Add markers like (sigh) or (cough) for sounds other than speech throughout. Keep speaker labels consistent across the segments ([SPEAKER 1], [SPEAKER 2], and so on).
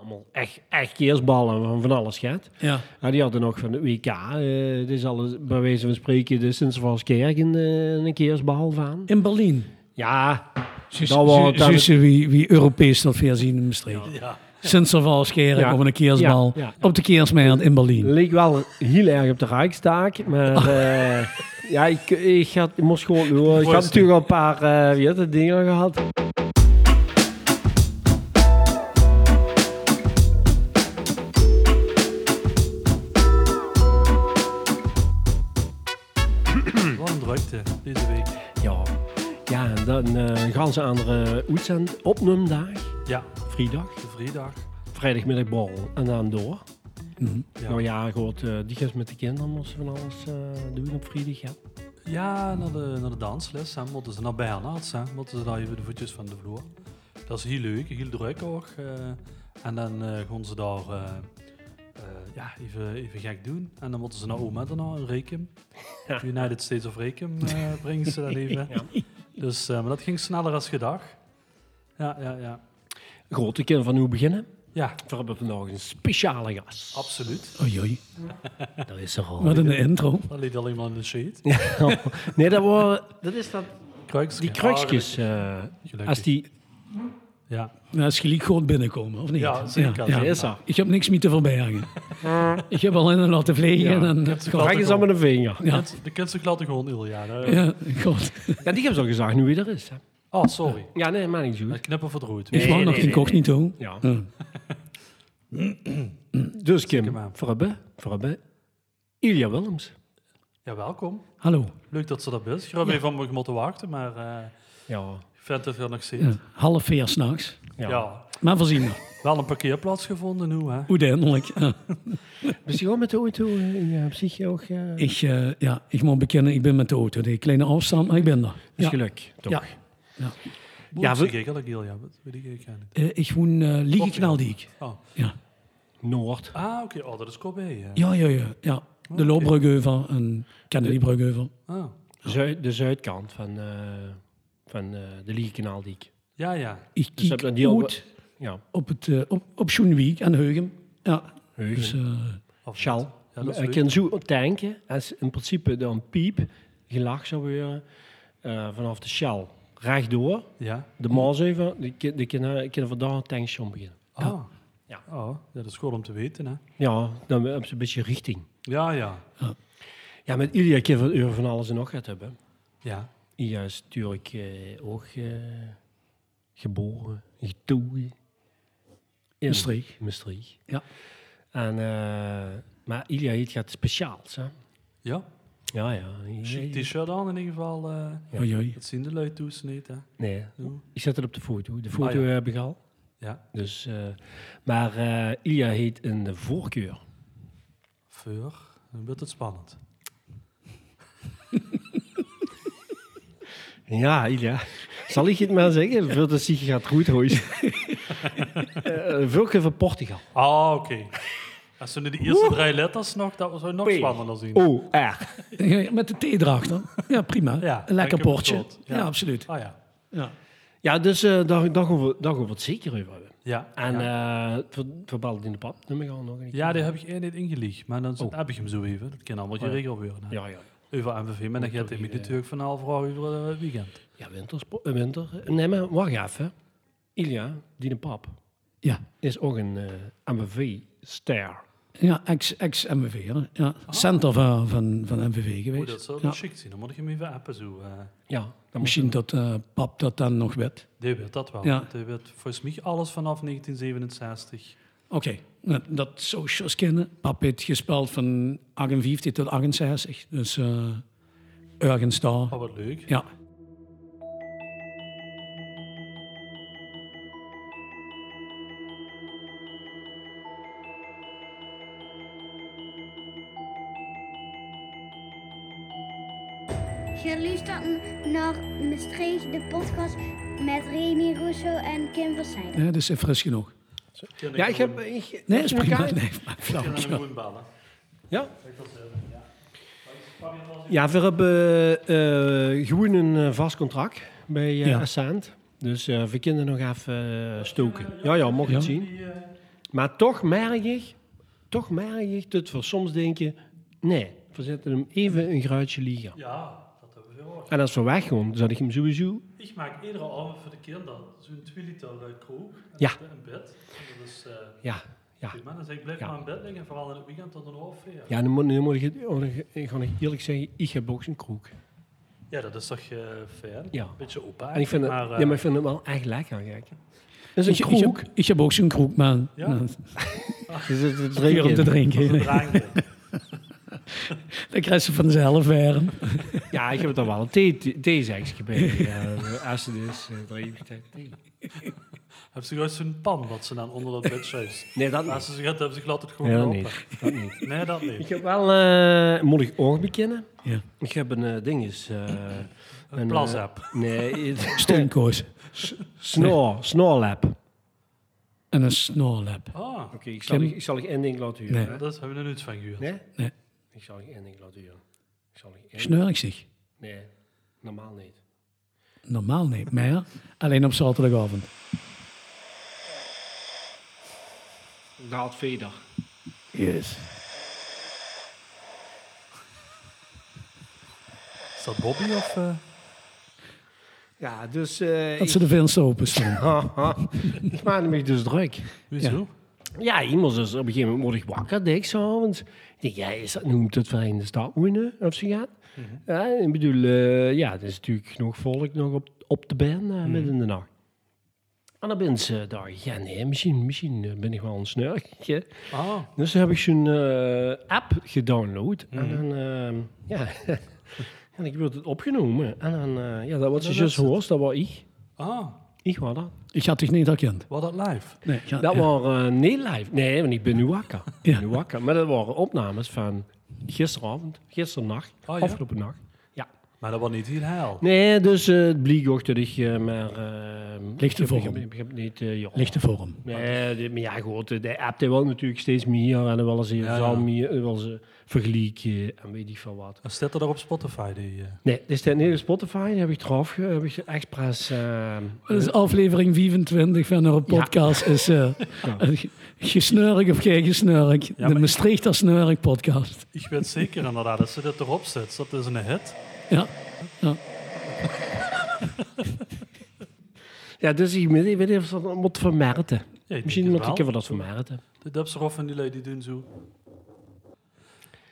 [SPEAKER 1] allemaal echt, echt keersballen van van alles gaat.
[SPEAKER 2] Ja.
[SPEAKER 1] Ja, die hadden nog van de WK. eh dit is al eens- bij wijze van spreken de Sint-Valskerk in eh, een keersbal van.
[SPEAKER 2] In Berlin.
[SPEAKER 1] Ja,
[SPEAKER 2] Zus-
[SPEAKER 1] Dat Nou, wel,
[SPEAKER 2] zus-
[SPEAKER 1] dat
[SPEAKER 2] zus- wie, wie Europees dat veel zien in de streek.
[SPEAKER 1] Ja.
[SPEAKER 2] Sinterklaas keren
[SPEAKER 1] Ja.
[SPEAKER 2] op een keersbal.
[SPEAKER 1] Ja, ja.
[SPEAKER 2] Op de keersmeiland in Berlin.
[SPEAKER 1] leek wel heel erg op de Rijkstaak. Maar eh, ja, ik, ik, had, ik moest gewoon door. Ik had natuurlijk al een paar eh, wie had het, dingen gehad.
[SPEAKER 3] Wat een drukte deze week.
[SPEAKER 1] Ja, ja en dan eh, een gans andere eh, uitzend. Opnumdag,
[SPEAKER 3] Ja,
[SPEAKER 1] vrijdag.
[SPEAKER 3] de vrijdag.
[SPEAKER 1] Vrijdagmiddagborrel en dan door.
[SPEAKER 3] Ja,
[SPEAKER 1] Nou ja, goed, eh, die gast met de kinderen moesten van alles eh, doen op vrijdag. Ja.
[SPEAKER 3] Ja, naar, de, naar de dansles. Hè. Moeten ze naar Bernards. Hè. Moeten ze daar even de voetjes van de vloer. Dat is heel leuk, heel druk ook. eh. en dan eh gaan ze daar eh, eh, ja, even, even gek doen. En dan moeten ze naar oma daarna, in Rekum. United States of Rekum
[SPEAKER 1] (laughs)
[SPEAKER 3] eh, brengen ze dat even. Dus, eh, maar dat ging sneller als gedacht. Ja, ja, ja.
[SPEAKER 1] Goed, ik kan van nu beginnen.
[SPEAKER 3] Ja,
[SPEAKER 1] We hebben vandaag een speciale gast.
[SPEAKER 3] absoluut.
[SPEAKER 2] Oei, oei.
[SPEAKER 1] Dat is er al.
[SPEAKER 2] Wat een intro.
[SPEAKER 3] Dat liet alleen maar in de shade.
[SPEAKER 1] Nee, dat, waren, dat is dat.
[SPEAKER 3] Kruikske.
[SPEAKER 1] Die kruksjes. eh,
[SPEAKER 3] Gelukkig.
[SPEAKER 1] als die.
[SPEAKER 3] Ja,
[SPEAKER 2] Nou, is gelijk gewoon binnenkomen, of niet?
[SPEAKER 3] Ja, zeker.
[SPEAKER 1] Ja, is er.
[SPEAKER 2] Ik heb niks meer te
[SPEAKER 1] (laughs)
[SPEAKER 2] verbergen. ik heb alleen een laten vliegen
[SPEAKER 1] Ja.
[SPEAKER 2] en dat
[SPEAKER 1] Kijk eens aan met een vinger.
[SPEAKER 2] Ja.
[SPEAKER 3] de kunstig laten gewoon Ilja. hè.
[SPEAKER 2] Ja, god.
[SPEAKER 1] Ja, die hebben ze al gezegd nu wie er is. Hè.
[SPEAKER 3] Oh, sorry.
[SPEAKER 1] Ja, nee, maar niet zo.
[SPEAKER 3] Dat knippen verdroeid.
[SPEAKER 2] Ik wou
[SPEAKER 1] nee,
[SPEAKER 2] nog
[SPEAKER 1] nee,
[SPEAKER 2] incognito.
[SPEAKER 1] Ja.
[SPEAKER 2] Ja.
[SPEAKER 1] (clears throat) Dus Kim,
[SPEAKER 3] maar.
[SPEAKER 1] voor hebben, voor hebben, Ilja Willems.
[SPEAKER 3] Ja, welkom.
[SPEAKER 2] Hallo.
[SPEAKER 3] Leuk dat ze dat is. Ik heb even van me moeten wachten, maar eh,
[SPEAKER 1] Ja.
[SPEAKER 3] ik vind het er nog steeds.
[SPEAKER 2] Ja, half vier s'nachts.
[SPEAKER 1] ja.
[SPEAKER 3] Ja.
[SPEAKER 2] Maar voorzien we.
[SPEAKER 3] wel een parkeerplaats gevonden nu, hè?
[SPEAKER 2] Uiteindelijk. Ja.
[SPEAKER 1] Ben je gewoon met de auto eh, in je psychie ook? eh,
[SPEAKER 2] Ik, eh, ja, ik moet bekennen, ik ben met de auto. Die kleine afstand, maar ik ben er.
[SPEAKER 1] Is
[SPEAKER 2] Ja.
[SPEAKER 1] geluk, toch?
[SPEAKER 2] Ja.
[SPEAKER 1] Ja,
[SPEAKER 3] Ja,
[SPEAKER 1] we-
[SPEAKER 3] we... eigenlijk heel ja, dat weet ik eigenlijk niet.
[SPEAKER 2] Eh, ik woon eh Liegeknaaldiek.
[SPEAKER 3] Oh.
[SPEAKER 2] Ja.
[SPEAKER 1] Noord.
[SPEAKER 3] Ah, oké. Oh, dat is Kobe. hè.
[SPEAKER 2] Ja, ja, ja. ja. De Loopbrugeuvel en Kennedybrugeuvel.
[SPEAKER 3] Ah.
[SPEAKER 1] Zuid, de zuidkant van, eh, van eh, de Liegekanaaldiek.
[SPEAKER 3] Ja, ja.
[SPEAKER 2] Ik
[SPEAKER 1] Dus
[SPEAKER 2] kijk
[SPEAKER 1] heb je die al-
[SPEAKER 2] uit
[SPEAKER 1] Ja.
[SPEAKER 2] op, het, eh, op, op Schoenwiek en Heugem. Ja,
[SPEAKER 1] Heugen.
[SPEAKER 2] dus eh,
[SPEAKER 3] Of
[SPEAKER 1] Shell.
[SPEAKER 3] Ja, dat is
[SPEAKER 1] ik
[SPEAKER 3] leuk.
[SPEAKER 1] kan zo denken, als in principe dan piep, gelach zou weer eh, vanaf de Shell rechtdoor,
[SPEAKER 3] Ja.
[SPEAKER 1] de Maas even, de kin- de kinderen kunnen vandaag een tankstation beginnen.
[SPEAKER 3] Oh.
[SPEAKER 1] Ja.
[SPEAKER 3] Ja. Oh, ja, dat is goed om te weten, hè?
[SPEAKER 1] Ja, dan hebben ze een beetje richting.
[SPEAKER 3] Ja, ja.
[SPEAKER 1] Ja, met Ilja kan van, uur van alles en nog wat hebben.
[SPEAKER 3] Ja.
[SPEAKER 1] Ilja is natuurlijk eh, ook eh, geboren, getogen. In
[SPEAKER 2] Maastricht.
[SPEAKER 1] Maastricht.
[SPEAKER 2] Ja.
[SPEAKER 1] En, eh, maar Ilja heeft gaat speciaals, hè?
[SPEAKER 3] Ja.
[SPEAKER 1] Ja, ja. Ilja-
[SPEAKER 3] Chic t-shirt aan in ieder geval. eh
[SPEAKER 2] oei, oei.
[SPEAKER 3] Dat zien de lui toesneed, hè?
[SPEAKER 1] Nee,
[SPEAKER 3] Hoe?
[SPEAKER 1] ik zet het op de foto. De foto eh,
[SPEAKER 3] Ah, ja.
[SPEAKER 1] heb ik al.
[SPEAKER 3] Ja.
[SPEAKER 1] Dus, eh, maar eh, Ilja heeft een voorkeur.
[SPEAKER 3] Voor. Dan wordt het spannend.
[SPEAKER 1] Ja, Ilja. Zal ik het maar zeggen?
[SPEAKER 3] (laughs)
[SPEAKER 1] Veel dat zich gaat goed, hoor. Vulke van Portugal.
[SPEAKER 3] Ah, oké. Als we nu de eerste drie letters nog, dat zou nog spannender zien.
[SPEAKER 1] O-R.
[SPEAKER 2] Ja, met de thee erachter. Ja, prima.
[SPEAKER 3] Ja,
[SPEAKER 2] Een lekker
[SPEAKER 3] lekker
[SPEAKER 2] bordje.
[SPEAKER 3] bezorgd.
[SPEAKER 2] Ja.
[SPEAKER 3] Ja.
[SPEAKER 2] absoluut.
[SPEAKER 3] Ah ja.
[SPEAKER 2] Ja.
[SPEAKER 1] Ja, dus eh daar, daar, gaan we, daar gaan we het zeker over hebben.
[SPEAKER 3] Ja,
[SPEAKER 1] En
[SPEAKER 3] ja.
[SPEAKER 1] eh, het ver- het verband in de pap, nummer gaan we nog een keer.
[SPEAKER 3] ja die heb ik eerder niet ingelicht, maar dan heb ik hem zo even. Dat kan allemaal geregeld worden. hè.
[SPEAKER 1] Oh. Ja, eh, ja.
[SPEAKER 3] Over MVV, maar dan gaat hij me natuurlijk van half vragen over eh, het weekend.
[SPEAKER 1] Ja, winterspo- eh, winter. Nee, maar wacht even. Ilja, die de pap,
[SPEAKER 2] Ja,
[SPEAKER 1] is ook een eh MBV-ster.
[SPEAKER 2] ja ex- ex-MVV. hè. ja, center van, van, van MVV
[SPEAKER 3] Hoe
[SPEAKER 2] geweest.
[SPEAKER 3] dat zou
[SPEAKER 2] ja.
[SPEAKER 3] chic zien, dan moet ik hem even appen zo. eh.
[SPEAKER 1] Ja, dan moet-
[SPEAKER 2] Misschien dat eh, pap dat dan nog weet.
[SPEAKER 3] die werd dat wel.
[SPEAKER 2] Ja.
[SPEAKER 3] Die werd volgens mij alles vanaf 1967.
[SPEAKER 2] Oké, nou, dat zou Sjors kennen. Pap heeft gespeeld van 58 tot 68. Dus eh ergens daar.
[SPEAKER 3] Oh, wat leuk.
[SPEAKER 2] Ja.
[SPEAKER 4] Je luistert naar Maastricht, de podcast met Remy Russo en Kim Versijen.
[SPEAKER 2] Ja, dat dus is fris genoeg.
[SPEAKER 1] Ja, ik heb... Ik,
[SPEAKER 2] Nee, is prima.
[SPEAKER 1] elkaar-
[SPEAKER 2] Nee, maar flauw.
[SPEAKER 3] En een bellen.
[SPEAKER 1] Ja? Ja, we hebben eh, gewoon een eh, vast contract bij eh
[SPEAKER 2] Ja.
[SPEAKER 1] Ascent. Dus eh, we kunnen nog even eh, stoken. Ja, ja, mag je
[SPEAKER 2] Ja.
[SPEAKER 1] het zien. Maar toch merk ik, toch merk ik dat we soms denken, nee, we zetten hem even een gruitje liggen.
[SPEAKER 3] Ja, dat hebben we gehoord.
[SPEAKER 1] En als we weggaan, zet ik hem sowieso.
[SPEAKER 3] Ik maak iedere avond voor de kinderen zo'n 2 liter uit kroeg. En
[SPEAKER 1] Ja.
[SPEAKER 3] In bed. En dat is eh
[SPEAKER 1] Ja, ja.
[SPEAKER 3] prima. Dan zeg ik, blijf
[SPEAKER 1] Ja.
[SPEAKER 3] maar in bed liggen. Vooral in het weekend tot een half vier. Ja.
[SPEAKER 1] Ja, dan moet, dan moet ik, het- dan moet ik- ik ga nog eerlijk zeggen, ik heb ook een kroeg.
[SPEAKER 3] dat is toch eh fair?
[SPEAKER 1] Ja.
[SPEAKER 3] Een beetje opa.
[SPEAKER 1] En ik vind het,
[SPEAKER 3] maar, eh,
[SPEAKER 1] ja, maar ik vind het wel echt lekker, kijk. Dat
[SPEAKER 2] Ik,
[SPEAKER 1] is een
[SPEAKER 2] ik,
[SPEAKER 1] kroeg.
[SPEAKER 2] heb, ik heb ook zo'n kroek, maar
[SPEAKER 3] Ja?
[SPEAKER 2] nou,
[SPEAKER 1] Dus het- het
[SPEAKER 2] weer om te
[SPEAKER 1] drinken.
[SPEAKER 3] dat is
[SPEAKER 2] drinken.
[SPEAKER 3] een drankje.
[SPEAKER 2] (laughs) Dan krijg je vanzelf weer.
[SPEAKER 1] Ja, ik heb er wel een thee- theezakje bij. Ja, als het is, eh, drink ik thee.
[SPEAKER 3] Hebben ze juist zo'n pan wat ze dan onder dat bed
[SPEAKER 1] (laughs)
[SPEAKER 3] schuift?
[SPEAKER 1] Nee, dat
[SPEAKER 3] Als ze zich hebben ze laat het gewoon
[SPEAKER 1] Nee, dat
[SPEAKER 3] lopen.
[SPEAKER 1] niet. Dat niet.
[SPEAKER 3] Nee, dat
[SPEAKER 1] Ik
[SPEAKER 3] niet.
[SPEAKER 1] heb wel, eh moet ik oog bekennen?
[SPEAKER 2] Ja.
[SPEAKER 1] Ik heb een eh, ding is... eh,
[SPEAKER 3] Een plasapp.
[SPEAKER 1] eh, (laughs) nee,
[SPEAKER 2] Stonkoos.
[SPEAKER 1] snor, snorlap. Oké,
[SPEAKER 2] En een snorlap.
[SPEAKER 3] Ah,
[SPEAKER 1] ik, zal
[SPEAKER 2] Kim?
[SPEAKER 1] ik, ik zal ik één ding laten
[SPEAKER 2] Nee.
[SPEAKER 1] huren. hè?
[SPEAKER 3] dat hebben we er niets van gehuurd.
[SPEAKER 1] Nee?
[SPEAKER 2] Nee.
[SPEAKER 1] Ik zal je één ding laten huren. Ik zal je één...
[SPEAKER 2] Snurk zich.
[SPEAKER 1] Nee, normaal niet.
[SPEAKER 2] Normaal niet, maar ja, alleen op zaterdagavond.
[SPEAKER 1] Daalt Veder.
[SPEAKER 2] Yes.
[SPEAKER 3] Is dat Bobby of... eh?
[SPEAKER 1] Ja, dus... eh
[SPEAKER 2] Dat
[SPEAKER 1] ik,
[SPEAKER 2] ze de venster open stonden.
[SPEAKER 1] (laughs) ik maakte me dus druk.
[SPEAKER 3] Wieso?
[SPEAKER 2] Ja.
[SPEAKER 1] Ja, iemand is op een gegeven moment word ik wakker, denk ik s'avonds. Ik denk, ja, is dat, noemt het wel in de stad wonen, of ze gaat. Ja, ik bedoel, eh, ja, er is natuurlijk genoeg volk nog op, op de band eh, midden in de nacht. En dan ben ze daar, ja nee, misschien, misschien eh, ben ik wel een (laughs) snurkje.
[SPEAKER 3] Ah,
[SPEAKER 1] Dus toen heb ik zo'n eh, app gedownload. En dan, ehm, ja, (laughs) en ik werd het opgenomen. En dan, eh, ja, dat wat ze
[SPEAKER 3] dat
[SPEAKER 1] juist
[SPEAKER 3] is het.
[SPEAKER 1] hoort, dat was ik.
[SPEAKER 3] ah,
[SPEAKER 1] Ik was dat.
[SPEAKER 2] Ik had dich niet herkend.
[SPEAKER 3] wat dat live.
[SPEAKER 2] Nee, ja,
[SPEAKER 1] Dat
[SPEAKER 2] ja.
[SPEAKER 1] waren eh, niet live. Nee, want ik ben nu wakker. Ik
[SPEAKER 2] Ja.
[SPEAKER 1] ben nu wakker. Maar dat waren opnames van gisteravond, gisternacht,
[SPEAKER 3] Oh, ja?
[SPEAKER 1] afgelopen nacht. Ja.
[SPEAKER 3] Maar dat was niet heel heil.
[SPEAKER 1] Nee, dus eh, het bleek ook dat ik eh, maar... eh,
[SPEAKER 2] Lichte
[SPEAKER 1] ik heb- ik
[SPEAKER 2] vorm.
[SPEAKER 1] heb- Ik heb niet... eh, ja.
[SPEAKER 2] lichte vorm.
[SPEAKER 1] Nee, de- maar ja, goed, de app die wil natuurlijk steeds meer en dan willen ze
[SPEAKER 3] Ja,
[SPEAKER 1] zal
[SPEAKER 3] ja.
[SPEAKER 1] meer, eh, willen ze vergelijken en weet ik veel wat.
[SPEAKER 3] Dan staat er daar op Spotify die... eh,
[SPEAKER 1] Nee, dit is de hele Spotify, die heb ik eraf, ge- heb ik expres... eh,
[SPEAKER 2] Dat is aflevering 25 van een podcast. Is, eh Gesnurk of geen gesnurk. de
[SPEAKER 3] maar-
[SPEAKER 2] Maastrichter Snurk podcast.
[SPEAKER 3] Ik weet zeker inderdaad dat ze dit erop zet. Dat is een hit.
[SPEAKER 2] Ja. ja.
[SPEAKER 1] Ja, dus ik weet ik weet niet of ze dat moet vermerken.
[SPEAKER 3] Ja, ik
[SPEAKER 1] Misschien
[SPEAKER 3] denk
[SPEAKER 1] moet
[SPEAKER 3] het
[SPEAKER 1] ik
[SPEAKER 3] wel.
[SPEAKER 1] even dat vermerken.
[SPEAKER 3] De dubsrof van die lui die doen zo.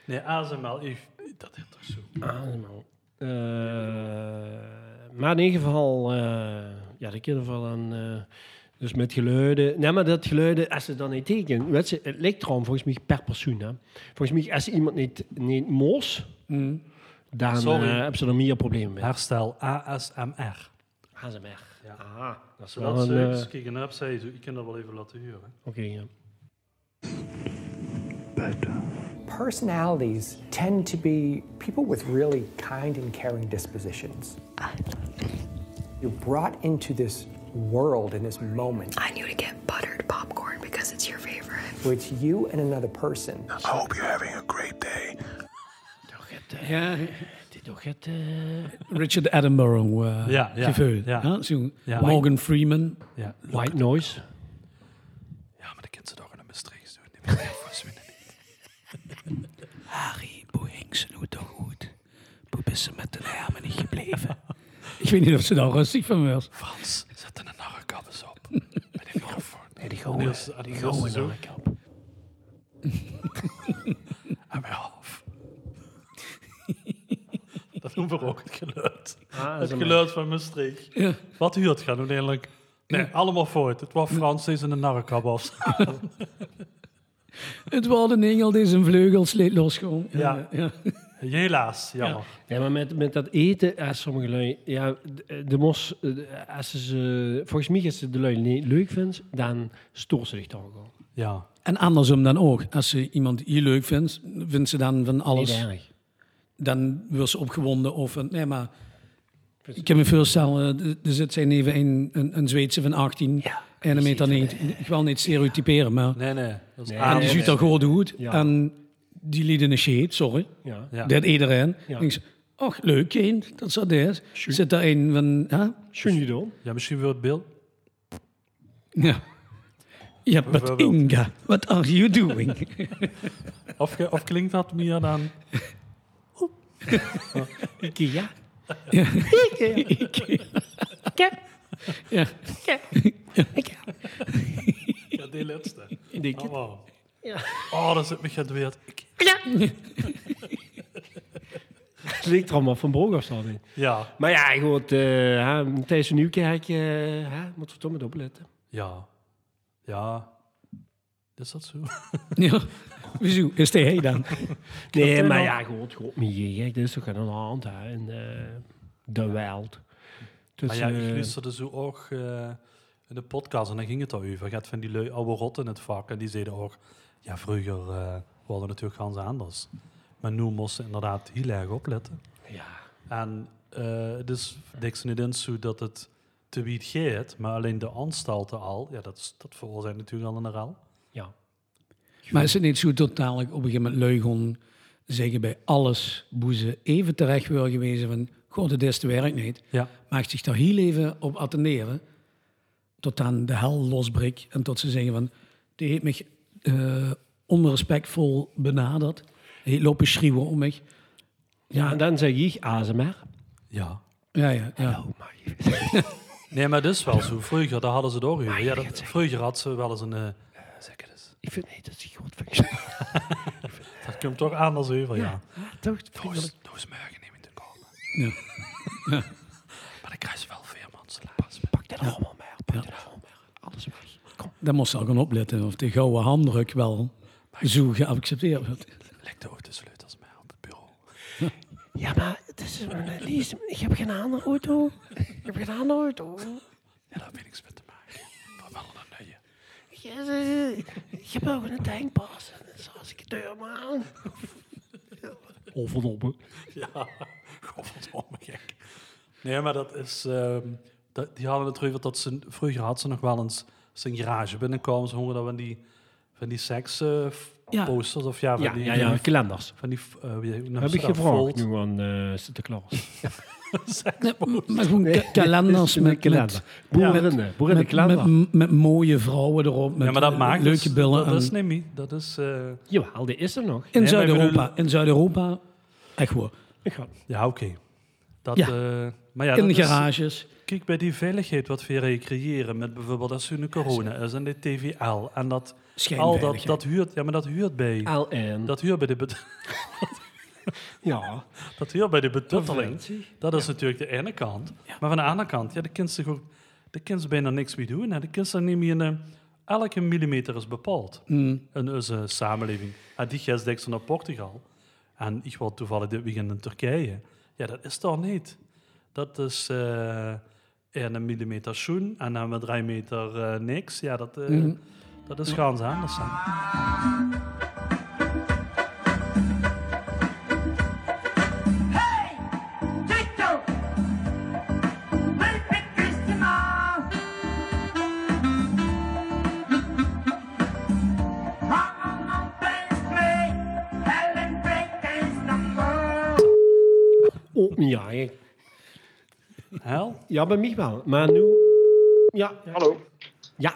[SPEAKER 3] Nee, ASML, ik, dat is toch zo.
[SPEAKER 1] Ah, helemaal. Eh, maar in ieder geval, eh, ja, de kinderen van een. eh, dus met geluiden. Nee, maar dat geluiden, als ze dan niet tekenen. Weet ze, het lijkt erom volgens mij per persoon. Hè. Volgens mij, als iemand niet, niet moos,
[SPEAKER 2] Mm.
[SPEAKER 1] dan
[SPEAKER 3] Sorry.
[SPEAKER 1] eh, hebben ze er meer problemen mee.
[SPEAKER 3] Herstel ASMR.
[SPEAKER 1] ASMR.
[SPEAKER 3] Ja.
[SPEAKER 1] Aha, dat is wel
[SPEAKER 3] Zodat
[SPEAKER 1] een,
[SPEAKER 3] ze eens
[SPEAKER 1] eh,
[SPEAKER 3] kijken naar zei zo, ik kan dat wel even laten huren.
[SPEAKER 1] Oké, ja.
[SPEAKER 5] personalities tend to be people with really kind and caring dispositions. You're brought into this world in this moment,
[SPEAKER 6] I knew to get buttered popcorn because it's your favorite.
[SPEAKER 5] where it's you and another person.
[SPEAKER 7] I hope you're having a great day.
[SPEAKER 1] Toch het, eh,
[SPEAKER 2] ja.
[SPEAKER 1] dit toch het, eh,
[SPEAKER 2] Richard Attenborough eh
[SPEAKER 3] Ja, ja,
[SPEAKER 2] gevoel.
[SPEAKER 3] ja.
[SPEAKER 2] Ja, zo'n
[SPEAKER 3] Ja.
[SPEAKER 2] Morgan Freeman.
[SPEAKER 3] Ja,
[SPEAKER 1] white noise.
[SPEAKER 3] ja maar de kind ze toch in een bestreeks doen. Die moet echt verschwinden.
[SPEAKER 2] Harry, boe hing ze nou toch goed? Boe is ze met de armen niet gebleven? Ik weet niet of ze daar rustig van was.
[SPEAKER 3] Frans, zet er een narrekappers op. Bij de microfoon.
[SPEAKER 1] Nee, die
[SPEAKER 3] Die
[SPEAKER 1] gouden.
[SPEAKER 3] is- die
[SPEAKER 1] Die
[SPEAKER 3] is
[SPEAKER 1] gouden
[SPEAKER 3] zo.
[SPEAKER 1] narrekap.
[SPEAKER 3] En bij half. Dat noemen we ook het geluid.
[SPEAKER 1] Ah,
[SPEAKER 3] het geluid van Maastricht.
[SPEAKER 2] Ja.
[SPEAKER 3] Wat huurt gaan uiteindelijk? Nee, allemaal voort. Het was Frans deze en de narrekabas.
[SPEAKER 2] Het was een engel die zijn vleugels liet losgaan.
[SPEAKER 3] Ja.
[SPEAKER 2] ja.
[SPEAKER 3] (laughs) Helaas, jammer.
[SPEAKER 1] Ja, maar met, met dat eten, eh, sommige lui, ja, de, de mos, eh, de- als ze ze, volgens mij als ze de lui niet leuk vindt, dan stoort ze zich toch ook al.
[SPEAKER 3] Ja.
[SPEAKER 2] En andersom dan ook. Als ze iemand hier leuk vindt, vindt ze dan van
[SPEAKER 1] Niet
[SPEAKER 2] alles.
[SPEAKER 1] erg.
[SPEAKER 2] Dan wordt ze opgewonden of... een- Nee, maar... Ik kan me voorstellen, eh, d- er zit zijn even een, een, een Zweedse van 18 en een meter 90. Ik wil niet stereotyperen, maar...
[SPEAKER 3] Nee, nee. Dat is
[SPEAKER 2] En
[SPEAKER 3] aan-
[SPEAKER 2] die ziet er goed uit.
[SPEAKER 1] Ja.
[SPEAKER 2] En die liet een shade, sorry.
[SPEAKER 1] Ja.
[SPEAKER 3] Ja.
[SPEAKER 2] Dat iedereen.
[SPEAKER 1] Ja.
[SPEAKER 2] Denk ze, ach, leuk kind, dat zou dit. Zit daar een van... Hè?
[SPEAKER 1] Schön gedaan.
[SPEAKER 3] Ja, misschien wil het beeld.
[SPEAKER 2] Ja. Ja, but
[SPEAKER 3] Bijvoorbeeld.
[SPEAKER 2] Inga, what are you doing?
[SPEAKER 3] Of, ge- of klinkt dat meer dan...
[SPEAKER 1] Ikea.
[SPEAKER 2] ja.
[SPEAKER 3] Ja, die laatste.
[SPEAKER 1] Denk
[SPEAKER 3] Oh,
[SPEAKER 1] het.
[SPEAKER 3] wow. oh dat zit me gedweerd.
[SPEAKER 1] Het ligt er allemaal van Brokers al in.
[SPEAKER 3] Ja,
[SPEAKER 1] Maar ja, goed, eh, hè, Matthijs van Nieuwkerk, eh, hè, moeten we toch met opletten.
[SPEAKER 3] ja, ja. Is dat zo?
[SPEAKER 2] ja. Wieso is hij hij dan?
[SPEAKER 1] Nee,
[SPEAKER 3] hij
[SPEAKER 1] maar
[SPEAKER 3] dan?
[SPEAKER 1] ja, goed, god, niet gek. Er is toch dus aan de hand, hè, in eh, de wereld. Dus,
[SPEAKER 3] Maar Ah ja, ik
[SPEAKER 1] eh,
[SPEAKER 3] luisterde zo ook eh, in de podcast en dan ging het al over. Gaat van die lui oude rotten in het vak en die zeiden ook... Ja, vroeger eh waren het natuurlijk ganz anders. Maar nu moesten ze inderdaad heel erg opletten.
[SPEAKER 1] ja.
[SPEAKER 3] En eh het is niks niet eens zo dat het te wiet gaat, maar alleen de aanstalten al, ja, dat, is- dat veroorzaakt natuurlijk al een herhaal.
[SPEAKER 1] ja.
[SPEAKER 2] Maar is het niet zo totaal ik op een gegeven moment lui gewoon zeggen bij alles hoe ze even terecht wil geweest van, god, dit is de werk niet.
[SPEAKER 3] Ja.
[SPEAKER 2] Mag zich daar heel even op attenderen tot aan de hel losbreekt en tot ze zeggen van, die heeft mij eh, onrespectvol benaderd. Hij heeft lopen schreeuwen om mij.
[SPEAKER 1] Ja, en dan zeg ik ASMR.
[SPEAKER 3] Ja.
[SPEAKER 2] Ja, ja, ja.
[SPEAKER 1] Oh, maar je-
[SPEAKER 3] Nee, maar dat is wel zo. Vroeger, daar hadden ze het ook over. Ja, dat, vroeger had ze wel eens een... eh, zeker eens.
[SPEAKER 1] ik vind niet dat is goed functioneert.
[SPEAKER 3] (laughs) Dat komt toch anders over, ja.
[SPEAKER 1] Toch? vind ik wel-
[SPEAKER 3] Doos merken neem in te komen.
[SPEAKER 2] Ja.
[SPEAKER 3] Maar ik krijg wel veel mensen
[SPEAKER 1] Pak dit allemaal mee. Pak dit allemaal mee. Alles weg. Kom,
[SPEAKER 2] Dan moest ze al gaan opletten of de gouden handdruk wel zo geaccepteerd wordt.
[SPEAKER 3] Lek de sleutels mee op het bureau.
[SPEAKER 1] Ja, maar het is een lease. Ik heb geen andere auto. Ik heb geen andere auto.
[SPEAKER 3] Ja, daar weet ik niks mee te maken. Maar wel een nieuwe.
[SPEAKER 1] Ik, eh, ik heb ook een tankpas. Dus als ik de deur maar aan. Of een oppe.
[SPEAKER 3] (laughs) Ja, godverdomme gek. Nee, maar dat is... ehm, dat, die hadden het erover dat ze... Vroeger had ze nog wel eens zijn garage binnenkomen. Ze hongerden van die, van die seks... eh, f-
[SPEAKER 2] Ja.
[SPEAKER 3] Posters of ja, van
[SPEAKER 1] Ja,
[SPEAKER 3] die,
[SPEAKER 1] ja, ja, kalenders.
[SPEAKER 3] Van die, f- eh, wie- hoe noemen
[SPEAKER 1] Heb
[SPEAKER 3] ze
[SPEAKER 1] ik
[SPEAKER 3] dat?
[SPEAKER 1] gevraagd
[SPEAKER 3] Volt.
[SPEAKER 1] nu aan eh, Sinterklaas.
[SPEAKER 2] Nee, maar gewoon ka- kalenders
[SPEAKER 1] Een
[SPEAKER 2] met,
[SPEAKER 1] kalender.
[SPEAKER 2] nou met,
[SPEAKER 1] Boerinnen. Boerinnenkalender.
[SPEAKER 2] met, met mooie vrouwen erop. Met
[SPEAKER 3] Ja,
[SPEAKER 1] eh,
[SPEAKER 3] maar dat maakt
[SPEAKER 2] leuke
[SPEAKER 3] dus-
[SPEAKER 2] billen.
[SPEAKER 3] Dat, dat
[SPEAKER 2] en-
[SPEAKER 3] is niet meer. Dat is... eh,
[SPEAKER 1] Jawel, die is er nog.
[SPEAKER 2] in
[SPEAKER 3] Nee, maar ik
[SPEAKER 2] Zuid-Europa.
[SPEAKER 3] bedoel-
[SPEAKER 2] In Zuid-Europa, echt hoor.
[SPEAKER 1] Ik ga-
[SPEAKER 3] ja, oké. Dat,
[SPEAKER 2] Ja.
[SPEAKER 3] eh, maar ja,
[SPEAKER 2] in
[SPEAKER 3] dat is-
[SPEAKER 2] garages.
[SPEAKER 3] Kijk, bij die veiligheid wat we recreëren met bijvoorbeeld als er nu corona is en de TVL en dat al dat,
[SPEAKER 2] Schijnveiligheid. Ah.
[SPEAKER 3] dat huurt, ja, maar dat huurt bij,
[SPEAKER 1] LN.
[SPEAKER 3] dat huurt bij de, (laughs) bet-
[SPEAKER 1] ja.
[SPEAKER 3] dat huurt bij de betutteling. Dat is natuurlijk de ene kant. Maar van de andere kant, ja, de kinderen ook, de kinderen bijna niks meer doen. En de kinderen nemen je een, elke millimeter is bepaald in onze samenleving. En die gast denkt ze naar Portugal. En ik was toevallig dit weekend in Turkije. Ja, dat is toch niet. Dat is eh, en een millimeter schoen en dan met drie meter eh, niks. Ja, dat, eh, dat is gans anders. hè.
[SPEAKER 8] Tito! Well, pictures tomorrow. Come on, dance me. Hell and break dance no more.
[SPEAKER 1] Op mijn jagen.
[SPEAKER 3] Hel?
[SPEAKER 1] Ja, bij mij wel. Maar nu... Ja. Hallo. Ja.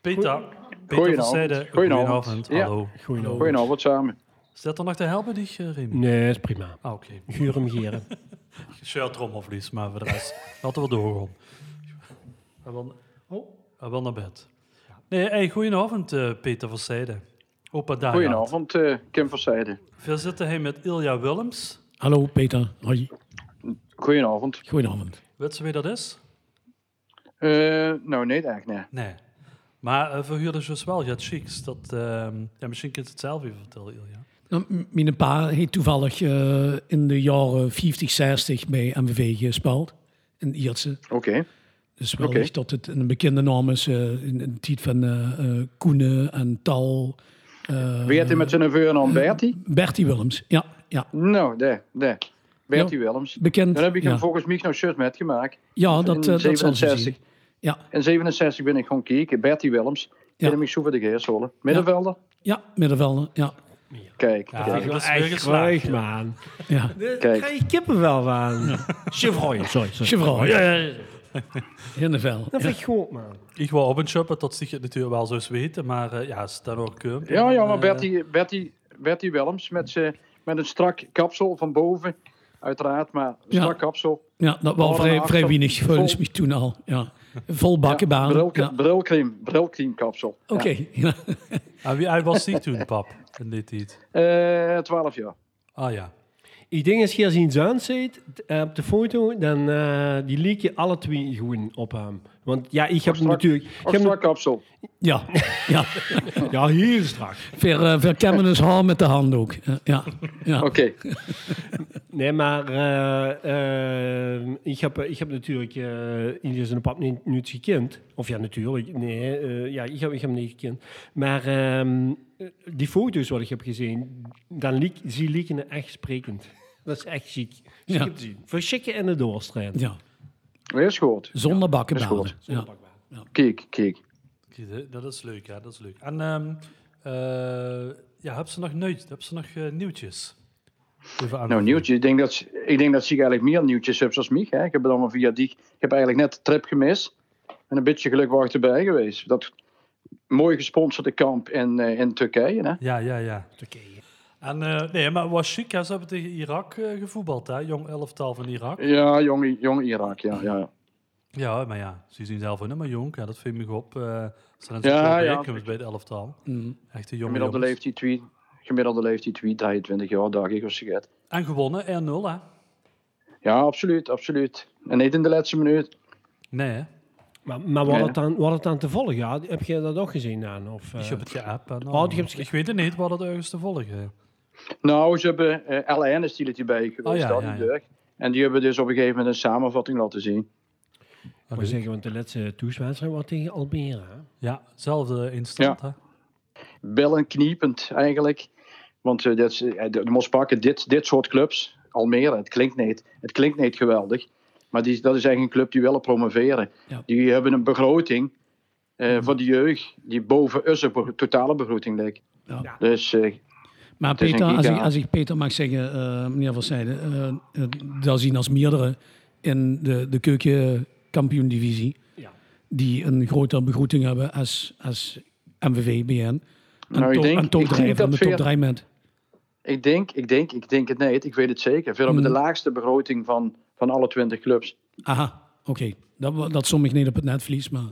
[SPEAKER 3] Peter. Peter van
[SPEAKER 9] Goedenavond.
[SPEAKER 3] Zijde.
[SPEAKER 9] Goedenavond. Ja.
[SPEAKER 3] Hallo.
[SPEAKER 1] Goeie
[SPEAKER 9] Goedenavond samen.
[SPEAKER 3] Zit er nog te helpen, die eh, Remy?
[SPEAKER 1] Nee, is prima.
[SPEAKER 3] Ah, (laughs) oké. Okay.
[SPEAKER 1] Guur hem geren.
[SPEAKER 3] Shirt trommelvlies, maar voor de rest (laughs) laten we doorgaan. Hij wil, oh. hij wil naar bed. Nee, hey, goedenavond, eh, Peter van Zijde. Opa Daan.
[SPEAKER 9] Goedenavond, eh, Kim van Zijden.
[SPEAKER 3] We zitten hier met Ilja Willems.
[SPEAKER 2] Hallo Peter. Hoi.
[SPEAKER 9] Goedenavond.
[SPEAKER 2] Goedenavond.
[SPEAKER 3] Weet ze wie dat is?
[SPEAKER 9] Eh, nou, nee, eigenlijk nee.
[SPEAKER 3] Nee. Maar eh verhuurder is dus wel, ja, chics. Dat, ehm, ja, misschien kunt je het zelf even vertellen, Ilja.
[SPEAKER 2] Nou, m- Mijn pa heeft toevallig eh, in de jaren 50, 60 bij MVV gespeeld. In Iertse.
[SPEAKER 9] Oké.
[SPEAKER 2] Dus wellicht dat het een bekende naam is. eh, in in de tijd van eh eh, Koenen en Tal. eh,
[SPEAKER 9] Bertie met zijn neveur en Bertie?
[SPEAKER 2] Bertie Willems. Ja, ja.
[SPEAKER 9] Nou, daar, daar. Bertie Willems.
[SPEAKER 2] Bekend.
[SPEAKER 9] Dan heb ik hem
[SPEAKER 2] ja.
[SPEAKER 9] volgens mij nog shirt met gemaakt.
[SPEAKER 2] Ja, dat,
[SPEAKER 9] in
[SPEAKER 2] eh, dat zal ze
[SPEAKER 9] 67.
[SPEAKER 2] zien. Ja,
[SPEAKER 9] In 67 ben ik gewoon kieken. Bertie Willems.
[SPEAKER 2] Ja.
[SPEAKER 9] Ja. En ik zoek de Geersolen. Middenvelder.
[SPEAKER 2] ja middenvelder. Ja,
[SPEAKER 9] Kijk,
[SPEAKER 3] Ja,
[SPEAKER 1] Ik
[SPEAKER 3] dat
[SPEAKER 1] wil
[SPEAKER 3] is weer
[SPEAKER 1] echt
[SPEAKER 3] geslaagd.
[SPEAKER 1] graag, man.
[SPEAKER 2] ja.
[SPEAKER 1] Daar (laughs)
[SPEAKER 9] Kijk.
[SPEAKER 1] krijg ik kippenvel van. Chevrolet, sorry. sorry.
[SPEAKER 2] Chevrolet.
[SPEAKER 1] Ja, ja, ja.
[SPEAKER 2] (laughs) Hinnevel.
[SPEAKER 1] Dat
[SPEAKER 2] Ja.
[SPEAKER 1] vind ik goed, man.
[SPEAKER 3] Ik wou op een shoppen, dat zich het natuurlijk wel zo weten, maar eh, ja, staan ook Kump.
[SPEAKER 9] Ja, ja, maar
[SPEAKER 3] Eh,
[SPEAKER 9] Bertie, Bertie, Bertie Willems met, z'n- met een strak kapsel van boven. Uiteraard, maar een
[SPEAKER 2] Ja.
[SPEAKER 9] strak kapsel.
[SPEAKER 2] Ja, dat was
[SPEAKER 9] Oh,
[SPEAKER 2] vrij,
[SPEAKER 9] dan
[SPEAKER 2] vrij
[SPEAKER 9] achter-
[SPEAKER 2] weinig volgens
[SPEAKER 9] vol-
[SPEAKER 2] mij toen al. Ja. Vol bakkenbaan. Ja,
[SPEAKER 9] bril,
[SPEAKER 2] Oké.
[SPEAKER 9] Brilcreme, brilcreme kapsel.
[SPEAKER 2] ja. (laughs)
[SPEAKER 3] En wie hij was die toen, pap? In dit tijd.
[SPEAKER 9] Ja. Eh, 12 jaar.
[SPEAKER 3] Ah ja.
[SPEAKER 1] Ik denk als je als iets aanzet eh, op de foto, dan eh die leek je alle twee gewoon op hem. Want ja, ik heb hem
[SPEAKER 9] strak-
[SPEAKER 1] natuurlijk... ik
[SPEAKER 9] Of
[SPEAKER 1] heb hem-
[SPEAKER 9] strak kapsel.
[SPEAKER 2] ja. ja.
[SPEAKER 1] ja, heel strak.
[SPEAKER 2] Ver, eh, ver kennen ons haar met de hand ook. Ja, ja. ja.
[SPEAKER 1] Ah.
[SPEAKER 9] Oké.
[SPEAKER 1] Nee, maar eh, eh, ik, heb, ik heb natuurlijk eh Ilias en de pap niet, niet gekend. Of ja, natuurlijk. Nee, eh, ja, ik heb, ik heb hem niet gekend. Maar ehm, eh, die foto's wat ik heb gezien, dan liek, zie lieken echt sprekend. Dat is echt ziek.
[SPEAKER 2] Ja.
[SPEAKER 1] Ja. Verschikken en de doorstrijden.
[SPEAKER 2] Ja.
[SPEAKER 9] Weer schoot.
[SPEAKER 2] Zonder
[SPEAKER 9] dat
[SPEAKER 2] bakkenbaan.
[SPEAKER 9] is
[SPEAKER 2] Ja.
[SPEAKER 9] Kijk, kijk.
[SPEAKER 3] Zie je, Dat is leuk, ja, dat is leuk. En ehm eh, ja, heb ze nog, nieuw, heb ze nog eh, nieuwtjes? Even
[SPEAKER 1] Ah.
[SPEAKER 3] aan-
[SPEAKER 9] Nou, nieuwtjes. Ik denk dat, ze- ik denk dat ze eigenlijk meer nieuwtjes hebben als mij. Hè. Ik heb het allemaal via die... Ik heb eigenlijk net de trip gemist. En een beetje geluk was ik erbij geweest. Dat mooi gesponsorde kamp in, eh, in Turkije. Hè.
[SPEAKER 3] Ja, ja, ja. En eh, nee, maar was chic, hè? Ze hebben tegen Irak eh, gevoetbald, hè? Jong elftal van Irak.
[SPEAKER 9] Ja, jong, jong Irak. Ja, ja.
[SPEAKER 3] Ja, maar ja, ze zien zelf ook nog maar jong. Ja, dat vind ik op. eh ze zijn
[SPEAKER 9] Ja,
[SPEAKER 3] ja,
[SPEAKER 9] ja.
[SPEAKER 3] ja. bij het elftal.
[SPEAKER 1] Mm.
[SPEAKER 3] Echt een jonge
[SPEAKER 9] Gemiddelde
[SPEAKER 3] jongens.
[SPEAKER 9] leeftijd, twee, gemiddelde leeftijd twee, 23 jaar, dacht ik, of zoiets.
[SPEAKER 3] En gewonnen, 1-0, hè?
[SPEAKER 9] Ja, absoluut, absoluut. En niet in de laatste minuut.
[SPEAKER 3] Nee, hè?
[SPEAKER 1] Maar, maar wat,
[SPEAKER 9] Ja.
[SPEAKER 1] het dan, wat het dan te volgen had, heb je dat ook gezien dan? Of, eh,
[SPEAKER 3] Ik heb het geapp. en
[SPEAKER 1] Oh, die heb je-
[SPEAKER 3] Ik weet het niet, wat het ergens te volgen.
[SPEAKER 9] Nou, ze hebben... eh LN is die er bij geweest,
[SPEAKER 3] Oh, ja,
[SPEAKER 9] dat,
[SPEAKER 3] ja,
[SPEAKER 9] die
[SPEAKER 3] ja.
[SPEAKER 9] Dirk. En die hebben dus op een gegeven moment een samenvatting laten zien.
[SPEAKER 1] Ik wou zeggen, want de laatste toeswedstrijd was tegen Almere. hè?
[SPEAKER 3] Ja, zelfde instant, hè?
[SPEAKER 9] bellen kniepend eigenlijk. Want eh, dat is, eh, de, de moest pakken, dit, dit soort clubs, Almere, het klinkt niet, het klinkt niet geweldig. Maar die, dat is eigenlijk een club die willen promoveren.
[SPEAKER 2] Ja.
[SPEAKER 9] Die hebben een begroting eh,
[SPEAKER 3] Mhm.
[SPEAKER 9] voor de jeugd die boven onze be- totale begroting ligt.
[SPEAKER 2] Ja.
[SPEAKER 9] Dus eh,
[SPEAKER 2] Maar
[SPEAKER 9] is een
[SPEAKER 2] Peter, als ik,
[SPEAKER 9] giga.
[SPEAKER 2] als ik Peter mag zeggen, eh, meneer Van Zijden, eh, eh, daar zien als meerdere in de, de keukenkampioen-divisie
[SPEAKER 1] Ja.
[SPEAKER 2] die een grotere begroeting hebben als, als MVV, BN. En
[SPEAKER 9] Nou, ik
[SPEAKER 2] top,
[SPEAKER 9] denk-
[SPEAKER 2] en top
[SPEAKER 9] ik denk
[SPEAKER 2] drie van de
[SPEAKER 9] dat
[SPEAKER 2] top
[SPEAKER 9] Veer-
[SPEAKER 2] 3 met.
[SPEAKER 9] ik, denk, ik, denk, ik denk het niet, ik weet het zeker. Veel hebben de
[SPEAKER 3] Mhm.
[SPEAKER 9] laagste begroting van, van alle 20 clubs.
[SPEAKER 2] Aha, oké. Dat, wa- dat som ik niet op het net verlies, maar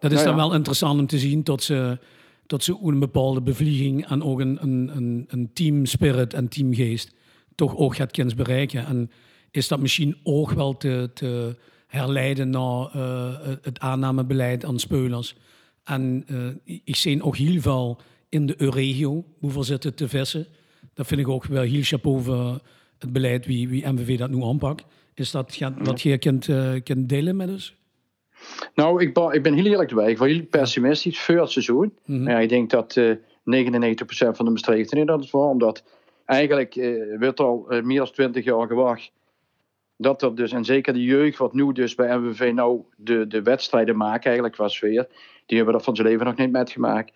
[SPEAKER 2] dat is
[SPEAKER 9] Ja,
[SPEAKER 2] dan
[SPEAKER 9] ja.
[SPEAKER 2] wel interessant om te zien tot ze, tot ze een bepaalde bevlieging en ook een, een, een, een teamspirit en teamgeest toch ook gaat kunnen bereiken. En is dat misschien ook wel te, te herleiden naar eh, het aannamebeleid aan spelers? En eh, ik zie ook heel veel in de regio hoeveel zitten te vissen. Dat vind ik ook wel heel chapeau voor het beleid wie, wie MVV dat nu aanpakt. Is dat ge- wat je kunt, eh, kunt delen met ons?
[SPEAKER 9] Nou, ik, ba- ik ben heel eerlijk erbij. Ik was heel pessimistisch voor het seizoen. Maar ja, ik denk dat eh 99% van de bestreekten in dat het was. Omdat eigenlijk eh werd al eh, meer dan 20 jaar gewacht. Dat er dus, en zeker de jeugd, wat nu dus bij MVV nou de, de wedstrijden maken, eigenlijk was weer. Die hebben dat van zijn leven nog niet metgemaakt.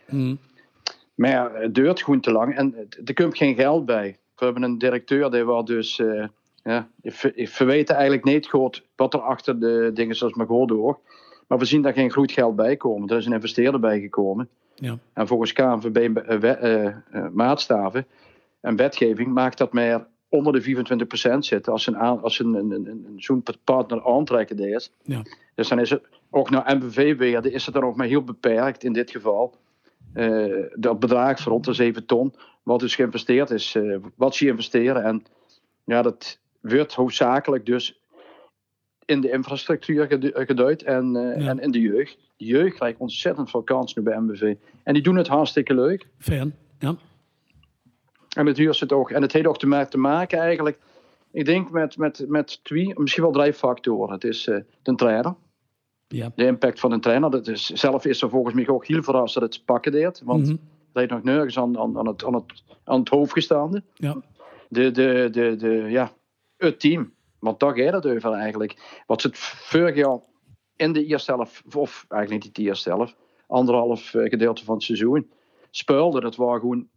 [SPEAKER 9] Maar ja, het duurt gewoon te lang en het- er komt geen geld bij. We hebben een directeur die wel dus. eh ja, ik ver- ik verweten eigenlijk niet goed wat er achter de dingen zoals Magodo hoor. Maar we zien daar geen goed geld bij komen. Er is een investeerder bij gekomen.
[SPEAKER 2] Ja.
[SPEAKER 9] En volgens KNVB eh, we- eh, eh, maatstaven en wetgeving maakt dat meer onder de 25% zitten als een, aan- als een, een, een, een- zo'n partner aantrekken is.
[SPEAKER 2] Ja.
[SPEAKER 9] Dus dan is het, ook naar MVV-waarde is het dan ook maar heel beperkt in dit geval. Eh, dat bedrag van rond de 7 ton, wat dus geïnvesteerd is, eh, wat ze investeren. En ja, dat wordt hoofdzakelijk dus in de infrastructuur gedu- eh, geduid en, eh,
[SPEAKER 2] Ja.
[SPEAKER 9] en in de jeugd. De jeugd krijgt ontzettend veel kans nu bij MBV. En die doen het hartstikke leuk.
[SPEAKER 2] Fan. Ja.
[SPEAKER 9] En met duur het ook. En het heeft ook te ma- te maken eigenlijk, ik denk met, met, met twee, misschien wel drie factoren. Het is eh, de trainer,
[SPEAKER 2] Ja.
[SPEAKER 9] de impact van een trainer. Dat is, zelf is er volgens mij ook heel verrast dat het te pakken deed. Want
[SPEAKER 2] Mhm.
[SPEAKER 9] het heeft nog nergens aan, aan, aan, het, aan, het, aan het hoofd gestaande.
[SPEAKER 2] Ja.
[SPEAKER 9] de, de, de, de, ja, het team. Want daar gaat het over eigenlijk. Wat ze het vorig jaar in de eerste helft, of eigenlijk niet de eerste helft, anderhalf eh, gedeelte van het seizoen, speelden. Dat waren gewoon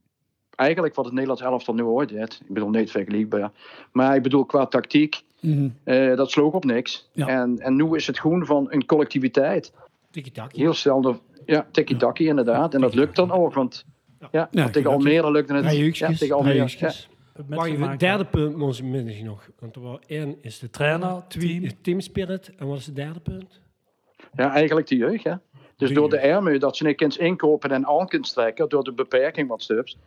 [SPEAKER 9] eigenlijk wat het Nederlands elftal nu ooit deed. Ik bedoel, niet vergelijkbaar. Maar ik bedoel, qua tactiek,
[SPEAKER 2] Mhm.
[SPEAKER 9] eh, dat sloeg op niks.
[SPEAKER 2] Ja.
[SPEAKER 9] En, en nu is het gewoon van een collectiviteit.
[SPEAKER 1] Tiki-taki.
[SPEAKER 9] Heel snel, de- ja, tikkie-takkie inderdaad. En dat lukt dan ook, want ja, want tegen
[SPEAKER 2] oké.
[SPEAKER 9] Almere lukte het.
[SPEAKER 1] Drie
[SPEAKER 9] ja,
[SPEAKER 1] huukjes,
[SPEAKER 9] tegen
[SPEAKER 1] drie
[SPEAKER 9] Almere. Ja,
[SPEAKER 1] huukjes.
[SPEAKER 3] Met
[SPEAKER 1] Mag je
[SPEAKER 3] vermaak,
[SPEAKER 1] het derde punt misschien misschien nog? Want er was één is de trainer,
[SPEAKER 3] Trainer,
[SPEAKER 1] twee
[SPEAKER 3] team.
[SPEAKER 1] is team spirit. En wat is het derde punt?
[SPEAKER 9] ja, eigenlijk de jeugd, hè. Dus door de ermu dat ze niet kunt inkopen en aan kunt trekken, door de beperking wat stups,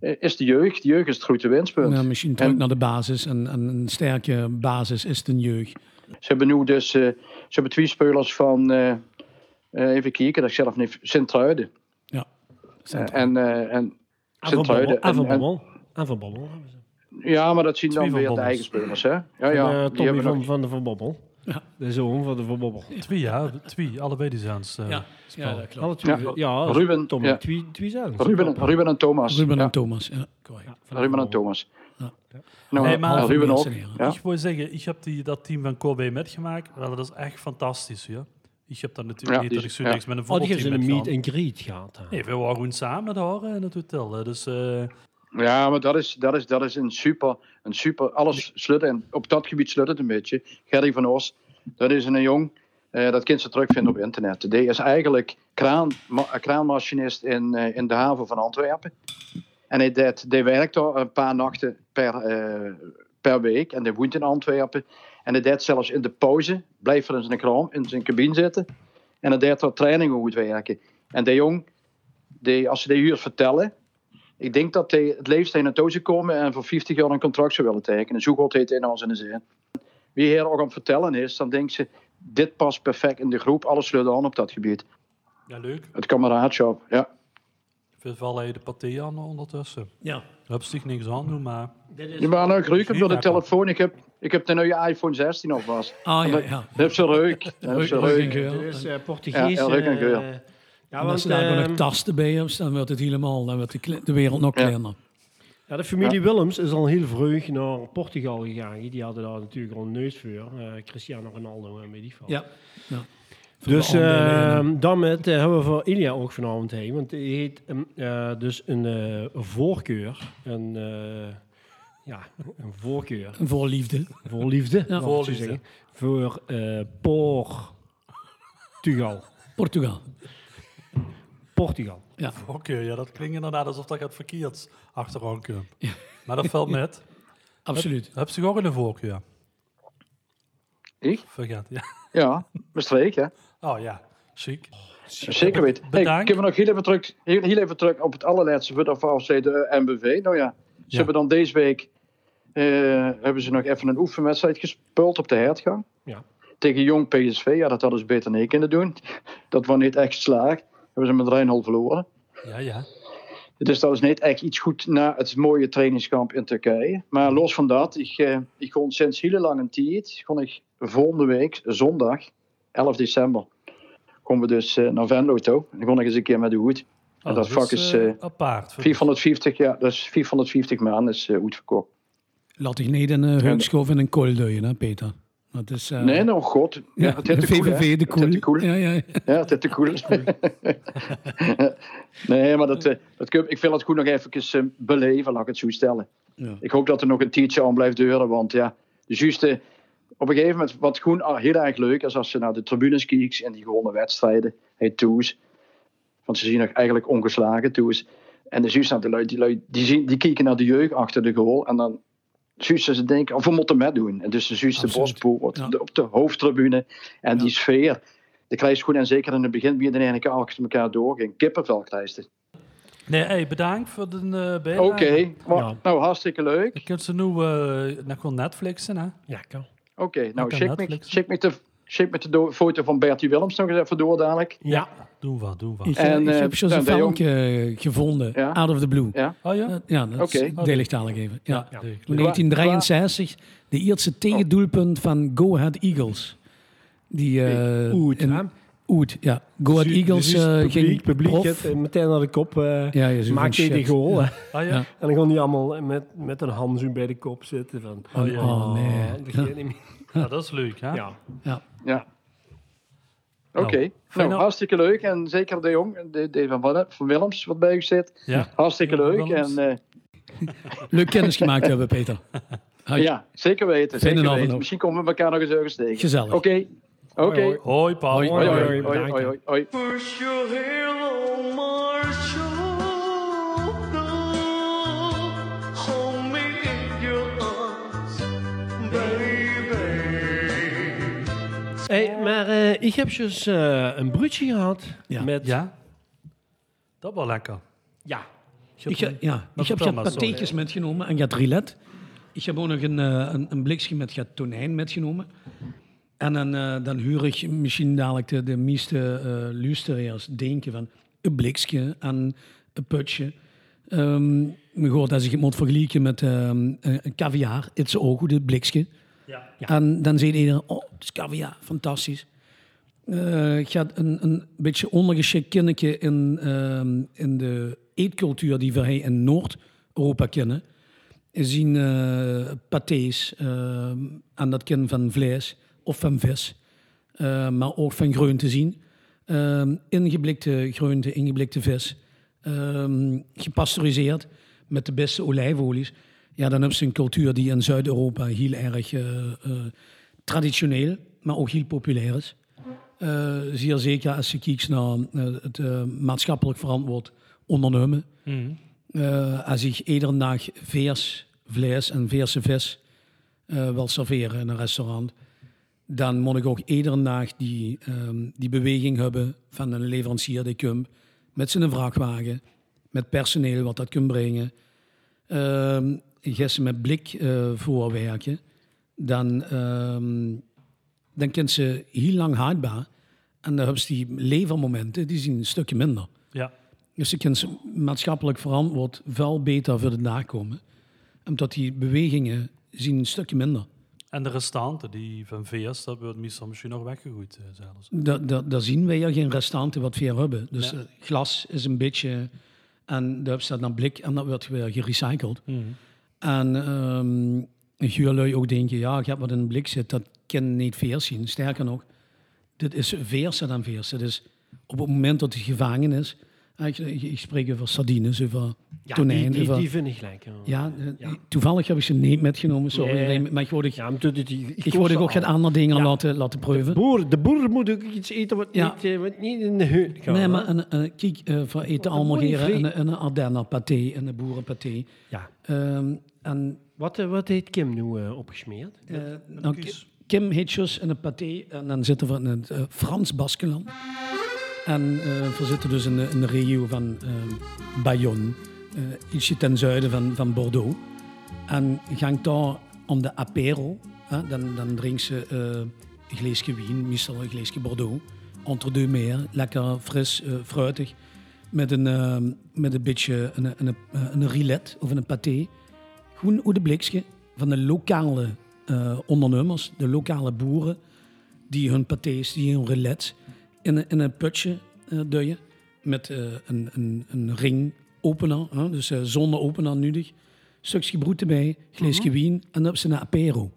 [SPEAKER 9] eh, is de jeugd, de jeugd is het grote winstpunt.
[SPEAKER 2] Ja, Nou, misschien terug
[SPEAKER 9] En-
[SPEAKER 2] naar de basis. En, en een sterke basis is de jeugd.
[SPEAKER 9] Ze hebben nu dus eh, ze hebben twee spelers van, eh, eh, even kijken, dat ik zelf niet, Sint-Truiden.
[SPEAKER 2] Ja.
[SPEAKER 9] Eh, en, eh, en
[SPEAKER 1] En Ah, van Bommel.
[SPEAKER 9] Sint-Truiden.
[SPEAKER 1] En van
[SPEAKER 9] en- en-
[SPEAKER 1] Bommel. En van Bommel. hebben ze.
[SPEAKER 9] ja, maar dat zien
[SPEAKER 3] Twee
[SPEAKER 9] dan
[SPEAKER 3] van
[SPEAKER 9] weer de
[SPEAKER 3] Bommels.
[SPEAKER 9] eigen spelers, hè? Ja, ja.
[SPEAKER 1] En, eh,
[SPEAKER 9] die
[SPEAKER 1] Tommy
[SPEAKER 9] hebben
[SPEAKER 1] van,
[SPEAKER 9] nog-
[SPEAKER 1] van de Van Bommel.
[SPEAKER 2] Ja.
[SPEAKER 1] De zoon van de Van Bommel.
[SPEAKER 3] Twee, ja. Twee. Allebei die zijn eh,
[SPEAKER 2] ja dat klopt.
[SPEAKER 1] Alle twee, ja,
[SPEAKER 9] Ja.
[SPEAKER 1] ja,
[SPEAKER 9] Ruben,
[SPEAKER 1] Tommy,
[SPEAKER 9] ja.
[SPEAKER 1] twee, twee zoons.
[SPEAKER 9] Ruben, Ruben en Thomas.
[SPEAKER 2] Ruben
[SPEAKER 9] Ja,
[SPEAKER 2] en Thomas. Ja, correct.
[SPEAKER 1] Ja, van de
[SPEAKER 9] Ruben
[SPEAKER 1] Van Bommel.
[SPEAKER 9] en Thomas.
[SPEAKER 2] Ja.
[SPEAKER 9] Nou,
[SPEAKER 3] Nee, maar-
[SPEAKER 9] en Ruben ook.
[SPEAKER 2] Mensen leren.
[SPEAKER 9] Ja.
[SPEAKER 3] Ik wil zeggen, ik heb die, dat team van Kobe metgemaakt. Wel, dat is echt fantastisch. Ja. Ik heb dan natuurlijk
[SPEAKER 9] Ja,
[SPEAKER 3] niet
[SPEAKER 9] die
[SPEAKER 3] dat ik
[SPEAKER 9] is-
[SPEAKER 3] zo niks
[SPEAKER 9] ja.
[SPEAKER 3] met een
[SPEAKER 1] Oh, die hebben ze
[SPEAKER 3] voetbalteam
[SPEAKER 1] een meet
[SPEAKER 3] metgaan.
[SPEAKER 1] and greet gehad. hè.
[SPEAKER 3] Nee, we waren gewoon samen daar eh, in het hotel. hè. Dus eh,
[SPEAKER 9] ja, maar dat is, dat is, dat is een, super, een super... Alles sluiten. En op dat gebied sluit het een beetje. Gerry van Oost, dat is een jong... eh, dat kind ze terugvinden op internet. Die is eigenlijk kraan, ma- eh, kraanmachinist in, eh, in de haven van Antwerpen. En hij deed, die werkt daar een paar nachten per, eh, per week. En die woont in Antwerpen. En hij deed zelfs in de pauze, blijft er in zijn kraam, in zijn cabine zitten. En hij deed daar trainingen goed werken. En die jong, die, als ze die huur vertellen... Ik denk dat hij het liefst in een toosje komen en voor 50 jaar een contract zou willen tekenen. Zo goed heet hij nou zijn zin. Wie hier ook aan het vertellen is, dan denkt ze... Dit past perfect in de groep, alles sluit aan op dat gebied.
[SPEAKER 3] ja, leuk.
[SPEAKER 9] Het kameraadschap, ja.
[SPEAKER 3] We vallen hier de partij aan eh, ondertussen.
[SPEAKER 2] Ja.
[SPEAKER 3] Ik heb zich niks aan doen, maar...
[SPEAKER 9] Je bent nou gelukkig door de
[SPEAKER 3] Prima.
[SPEAKER 9] telefoon. Ik heb, ik heb de nieuwe iPhone 16 alvast.
[SPEAKER 2] Ah ja,
[SPEAKER 9] Dat-
[SPEAKER 2] ja.
[SPEAKER 9] Dat heb ze reuk. Dat heb ze
[SPEAKER 2] Reuk en
[SPEAKER 9] reuk.
[SPEAKER 2] geur.
[SPEAKER 1] Dat is
[SPEAKER 2] En
[SPEAKER 1] eh, Portugees.
[SPEAKER 9] Ja, Elrik en
[SPEAKER 1] eh,
[SPEAKER 9] Geur.
[SPEAKER 1] ja,
[SPEAKER 2] als
[SPEAKER 1] want,
[SPEAKER 2] ze daar
[SPEAKER 1] ehm,
[SPEAKER 2] nog tasten bij hebben, dan wordt het helemaal, dan wordt de, kle- de wereld nog
[SPEAKER 9] eh, Ja.
[SPEAKER 2] kleiner.
[SPEAKER 1] Ja, de familie Willems is al heel vroeg naar Portugal gegaan. Die hadden daar natuurlijk al een neus voor. Eh, Cristiano Ronaldo en weet ik veel.
[SPEAKER 2] Ja. ja.
[SPEAKER 1] Dus
[SPEAKER 2] Voor de aandelen en-
[SPEAKER 1] ehm daarmee eh, hebben we voor Ilia ook vanavond heen. Want die heeft ehm, eh, dus een eh, voorkeur. Een, eh, ja, een voorkeur.
[SPEAKER 2] en voor liefde.
[SPEAKER 1] Voor liefde. laat ik het zo
[SPEAKER 3] Voorliefde.
[SPEAKER 1] zeggen. Voor eh, Portugal.
[SPEAKER 2] Portugal.
[SPEAKER 1] Portugal.
[SPEAKER 2] Ja.
[SPEAKER 3] Oké, ja, dat klinkt inderdaad alsof dat gaat verkeerd
[SPEAKER 1] (laughs)
[SPEAKER 3] achteraan komt. Maar dat valt met.
[SPEAKER 2] Absoluut.
[SPEAKER 3] Heb ze ook in de voorkeur?
[SPEAKER 9] Ik?
[SPEAKER 3] Vergeet, ja.
[SPEAKER 9] Ja, bestreek, hè.
[SPEAKER 3] Oh ja, chic.
[SPEAKER 9] Zeker weten. Hey,
[SPEAKER 3] Bedankt.
[SPEAKER 9] kunnen we nog heel even terug, heel, heel even terug op het allerlaatste voor de VFC, de eh, MBV. Nou ja, ze
[SPEAKER 3] Ja.
[SPEAKER 9] hebben dan deze week eh, hebben ze nog even een oefenwedstrijd gespeeld op de hertgang.
[SPEAKER 1] Ja.
[SPEAKER 9] Tegen Jong PSV. Ja, dat hadden ze beter niet kunnen doen. (laughs) Dat was niet echt slaag. Hebben ze met Reinhold verloren.
[SPEAKER 3] Ja, ja.
[SPEAKER 9] Dus dat is niet echt iets goed na het mooie trainingskamp in Turkije. Maar los van dat, ik, eh, ik kon sinds heel lang een tijd, kon ik volgende week, zondag, 11 december, komen we dus eh, naar Venlo toe. Dan kon ik eens een keer met de hoed. En
[SPEAKER 3] Oh,
[SPEAKER 9] dat vak is
[SPEAKER 3] eh,
[SPEAKER 9] eh,
[SPEAKER 3] apart.
[SPEAKER 9] 450, ja, dat is 450 maanden is goed verkocht.
[SPEAKER 2] Laat ik niet een uh, heukschof en een kool duwen, hè, Peter. Dat is... eh,
[SPEAKER 9] Nee, nou god. Ja,
[SPEAKER 2] ja,
[SPEAKER 9] het
[SPEAKER 2] de
[SPEAKER 9] is de koel, hè.
[SPEAKER 2] VVV, de
[SPEAKER 9] Het is
[SPEAKER 2] koel.
[SPEAKER 9] de koel.
[SPEAKER 2] Ja, ja.
[SPEAKER 9] Ja, het is
[SPEAKER 2] (laughs)
[SPEAKER 9] te cool. nee, maar dat, eh, dat, kun- ik wil het goed nog even eh, beleven, laat ik het zo stellen.
[SPEAKER 2] Ja.
[SPEAKER 9] Ik hoop dat er nog een tientje aan blijft duren, want ja, de juiste... Op een gegeven moment, wat gewoon ah, heel erg leuk is, als ze naar de tribunes kijkt en die gewonnen wedstrijden, hey Toes, want ze zien nog eigenlijk ongeslagen Toes. En de juist naar de lui, die, lui die, zien, die kijken naar de jeugd achter de goal en dan juist ze denken, of we moeten met doen. En dus de juiste
[SPEAKER 2] Absoluut.
[SPEAKER 9] bosboer wordt
[SPEAKER 2] Ja.
[SPEAKER 9] de- op de hoofdtribune en die sfeer. De krijg je goed en zeker in het begin, wie de ene keer achter elkaar doorging. Kippenvel krijg je.
[SPEAKER 3] Nee, hey, bedankt voor de eh bijdrage.
[SPEAKER 9] Oké, maar-
[SPEAKER 1] Ja.
[SPEAKER 9] nou hartstikke leuk.
[SPEAKER 3] Ik heb ze nu eh naar gewoon Netflixen, hè?
[SPEAKER 1] Ja, kan.
[SPEAKER 9] Oké, nou
[SPEAKER 3] kan
[SPEAKER 9] check me,
[SPEAKER 3] Netflix.
[SPEAKER 9] check me de, check me de do- foto van Bertie Willems nog eens even door dadelijk.
[SPEAKER 1] Ja.
[SPEAKER 3] Doen we, doen we.
[SPEAKER 2] Ik, eh,
[SPEAKER 9] En,
[SPEAKER 2] ik
[SPEAKER 9] eh,
[SPEAKER 2] heb zo'n
[SPEAKER 9] nou, de jong-
[SPEAKER 2] filmpje gevonden,
[SPEAKER 9] Ja.
[SPEAKER 2] Out of the Blue.
[SPEAKER 9] Ja.
[SPEAKER 3] Oh ja?
[SPEAKER 2] Ja, dat is
[SPEAKER 9] Oké.
[SPEAKER 2] deeligtalig even. Ja.
[SPEAKER 3] Ja.
[SPEAKER 2] Toen 1963, de
[SPEAKER 1] Oh.
[SPEAKER 2] Ierse tegendoelpunt van Go Ahead Eagles. Die, eh
[SPEAKER 1] Oet, hè?
[SPEAKER 2] in- Oet, ja. Go Ahead
[SPEAKER 1] Zu-
[SPEAKER 2] Eagles
[SPEAKER 1] dus is het
[SPEAKER 2] eh, ging
[SPEAKER 1] publiek, publiek
[SPEAKER 2] prof.
[SPEAKER 1] het, eh, meteen naar de kop. eh
[SPEAKER 2] Ja, je zoekt
[SPEAKER 1] maakt
[SPEAKER 2] een
[SPEAKER 1] hij die
[SPEAKER 2] shit.
[SPEAKER 1] goal. hè.
[SPEAKER 3] Ah, ja?
[SPEAKER 2] Ja.
[SPEAKER 1] En dan gaan die allemaal eh, met, met een handzoen bij de kop zitten. Van,
[SPEAKER 2] Oh, ja. Oh, nee.
[SPEAKER 1] dat gaat niet meer.
[SPEAKER 3] Ja, dat is leuk, hè?
[SPEAKER 1] Ja.
[SPEAKER 2] Ja.
[SPEAKER 9] Ja. Oké, nou,
[SPEAKER 3] Feyenoord-
[SPEAKER 9] hartstikke leuk. En zeker de jong, de, de van, Wanne- van Willems, wat bij u zit.
[SPEAKER 3] Ja.
[SPEAKER 9] Hartstikke
[SPEAKER 3] Ja,
[SPEAKER 9] leuk.
[SPEAKER 3] Willems.
[SPEAKER 9] En eh,
[SPEAKER 2] Leuk kennis gemaakt hebben, Peter. Had-
[SPEAKER 9] ja, zeker weten.
[SPEAKER 2] Fijne
[SPEAKER 9] Zeker
[SPEAKER 2] avond
[SPEAKER 9] weten.
[SPEAKER 2] ook.
[SPEAKER 9] Misschien komen we elkaar nog eens ergens tegen.
[SPEAKER 2] Gezellig.
[SPEAKER 9] Oké, oké.
[SPEAKER 3] Hoi, Paul.
[SPEAKER 2] Hoi,
[SPEAKER 9] Hoi, hoi,
[SPEAKER 1] Hoi,
[SPEAKER 9] hoi,
[SPEAKER 1] bedankt,
[SPEAKER 9] hoi,
[SPEAKER 1] hè.
[SPEAKER 9] hoi, hoi.
[SPEAKER 8] Push your halo, Marshall. Hold me in your arms, baby.
[SPEAKER 1] Hey, maar eh, ik heb dus eh, een broodje gehad
[SPEAKER 2] Ja.
[SPEAKER 1] met...
[SPEAKER 3] Ja? Dat wel lekker.
[SPEAKER 1] ja.
[SPEAKER 2] Ik,
[SPEAKER 3] heb
[SPEAKER 2] ga- ja, ik heb
[SPEAKER 3] vertel
[SPEAKER 2] ja
[SPEAKER 3] maar, sorry.
[SPEAKER 2] pateetjes metgenomen en gaat rilet. Ik heb ook nog een, eh, een, een blikje met gaat tonijn metgenomen. En dan, eh, dan huur ik misschien dadelijk de, de meeste eh luisteraars denken van een blikje en een putje. Ehm maar goed, als ik het moet vergelijken met ehm, een een caviar, het is ook goed, een blikje.
[SPEAKER 3] Ja.
[SPEAKER 2] En dan ziet iedereen, oh, het is caviar, fantastisch. Eh, ik ga een, een beetje ondergeschikt kindje in, ehm, in de eetcultuur die wij in Noord-Europa kennen. Je zien eh pâtés ehm, en dat kind van vlees of van vis, eh, maar ook van groenten zien. Ehm, ingeblikte groenten, ingeblikte vis, ehm, gepasteuriseerd met de beste olijfolies. Ja, dan heb ze een cultuur die in Zuid-Europa heel erg eh, eh, traditioneel, maar ook heel populair is. Eh, zeer zeker als je kijkt naar eh, het eh, maatschappelijk verantwoord ondernemen. Eh, als ik iedere dag veers, vlees en veerse vis eh, wil serveren in een restaurant, dan moet ik ook iedere dag die, ehm, die beweging hebben van een leverancier die komt met zijn vrachtwagen, met personeel wat dat kan brengen. Ehm gisteren met blik eh, voorwerken, dan, ehm, dan kent ze heel lang houdbaar. En dan hebben ze die levermomenten, die zien een stukje minder.
[SPEAKER 3] Ja.
[SPEAKER 2] Dus je kunt maatschappelijk verantwoord veel beter voor de dag komen. Omdat die bewegingen zien een stukje minder.
[SPEAKER 3] En de restanten, die van VS, dat wordt meestal misschien nog weggegooid eh, zelfs.
[SPEAKER 2] Da- da- Daar zien wij ja geen restanten wat we hier hebben. Dus
[SPEAKER 3] Ja.
[SPEAKER 2] eh, glas is een beetje... En daar staat dan blik en dat wordt weer gerecycled.
[SPEAKER 1] Mhm.
[SPEAKER 2] En ehm jullie ook denken, ja, ik heb wat in een blik zit, dat kan niet veers zien. Sterker nog, dit is veerser dan veerser. Dus op het moment dat het gevangen is... eh, Ik, ik, ik spreek over sardines, over
[SPEAKER 1] Ja, die,
[SPEAKER 2] tonijn,
[SPEAKER 1] die,
[SPEAKER 2] over...
[SPEAKER 1] die vind ik lekker.
[SPEAKER 2] Ja, eh,
[SPEAKER 1] Ja.
[SPEAKER 2] toevallig heb ik ze niet metgenomen. Sorry,
[SPEAKER 1] Nee.
[SPEAKER 2] Raymond, maar ik word, ik,
[SPEAKER 1] Ja, omdat het- ik,
[SPEAKER 2] ik word ook geen andere dingen
[SPEAKER 1] Ja.
[SPEAKER 2] laten, laten proeven.
[SPEAKER 1] Boer, de boer moet ook iets eten wat,
[SPEAKER 2] Ja.
[SPEAKER 1] niet, eh, wat niet in de huid kan.
[SPEAKER 2] nee,
[SPEAKER 1] hè?
[SPEAKER 2] maar een, een, kijk, eh, voor eten
[SPEAKER 1] Wat een mooie
[SPEAKER 2] almageren
[SPEAKER 1] vlie-
[SPEAKER 2] en een, een Ardenner paté en een boerenpaté.
[SPEAKER 1] Ja.
[SPEAKER 2] Ehm, en
[SPEAKER 1] Wat, eh, wat heeft Kim nu eh, opgesmeerd?
[SPEAKER 2] eh, nou, Ki- Kim Hitchers en een paté. En dan zitten we in het eh, Frans Baskeland. En eh, we zitten dus in de, in de regio van eh, Bayonne. eh, ietsje ten zuiden van, van Bordeaux. En gang daar om de apéro. hè, dan, dan drinken ze eh, een glaasje wien, meestal een glaasje Bordeaux. Entre deux mers, lekker fris, eh, fruitig. Met een, eh, met een beetje een, een, een, een rilet of een paté. Groen uit de blikje van de lokale eh, ondernemers, de lokale boeren. Die hun patés, die hun rilets in, een- in een putje eh duwen. Met eh, een, een, een ringopener, hè, dus eh, zonder opener nodig stukje broed erbij, glaasje wien en dan op zijn apero.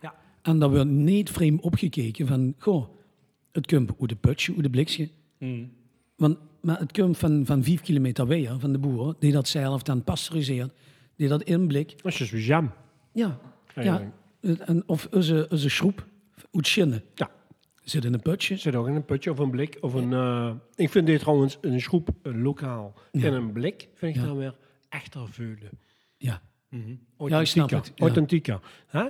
[SPEAKER 1] Ja.
[SPEAKER 2] En daar wordt niet vreemd opgekeken van, goh, het komt uit de putje, uit de blikje. Want, maar het komt van, van vijf kilometer weg, hè, van de boer, die dat zelf dan pasteuriseert, die dat inblik.
[SPEAKER 1] Dat is dus weer jam.
[SPEAKER 2] Ja, ja.
[SPEAKER 1] Eigenlijk.
[SPEAKER 2] En, of onze, onze schroep, uit Schinnen,
[SPEAKER 1] Ja.
[SPEAKER 2] zit in een putje.
[SPEAKER 1] Zit ook in een putje of een blik of een... eh, ik vind dit trouwens een schroep een lokaal en een blik vind ik dan weer echter veulen.
[SPEAKER 2] Ja.
[SPEAKER 1] Authentieke.
[SPEAKER 2] ik snap het, ja.
[SPEAKER 1] Authentieke. Hè?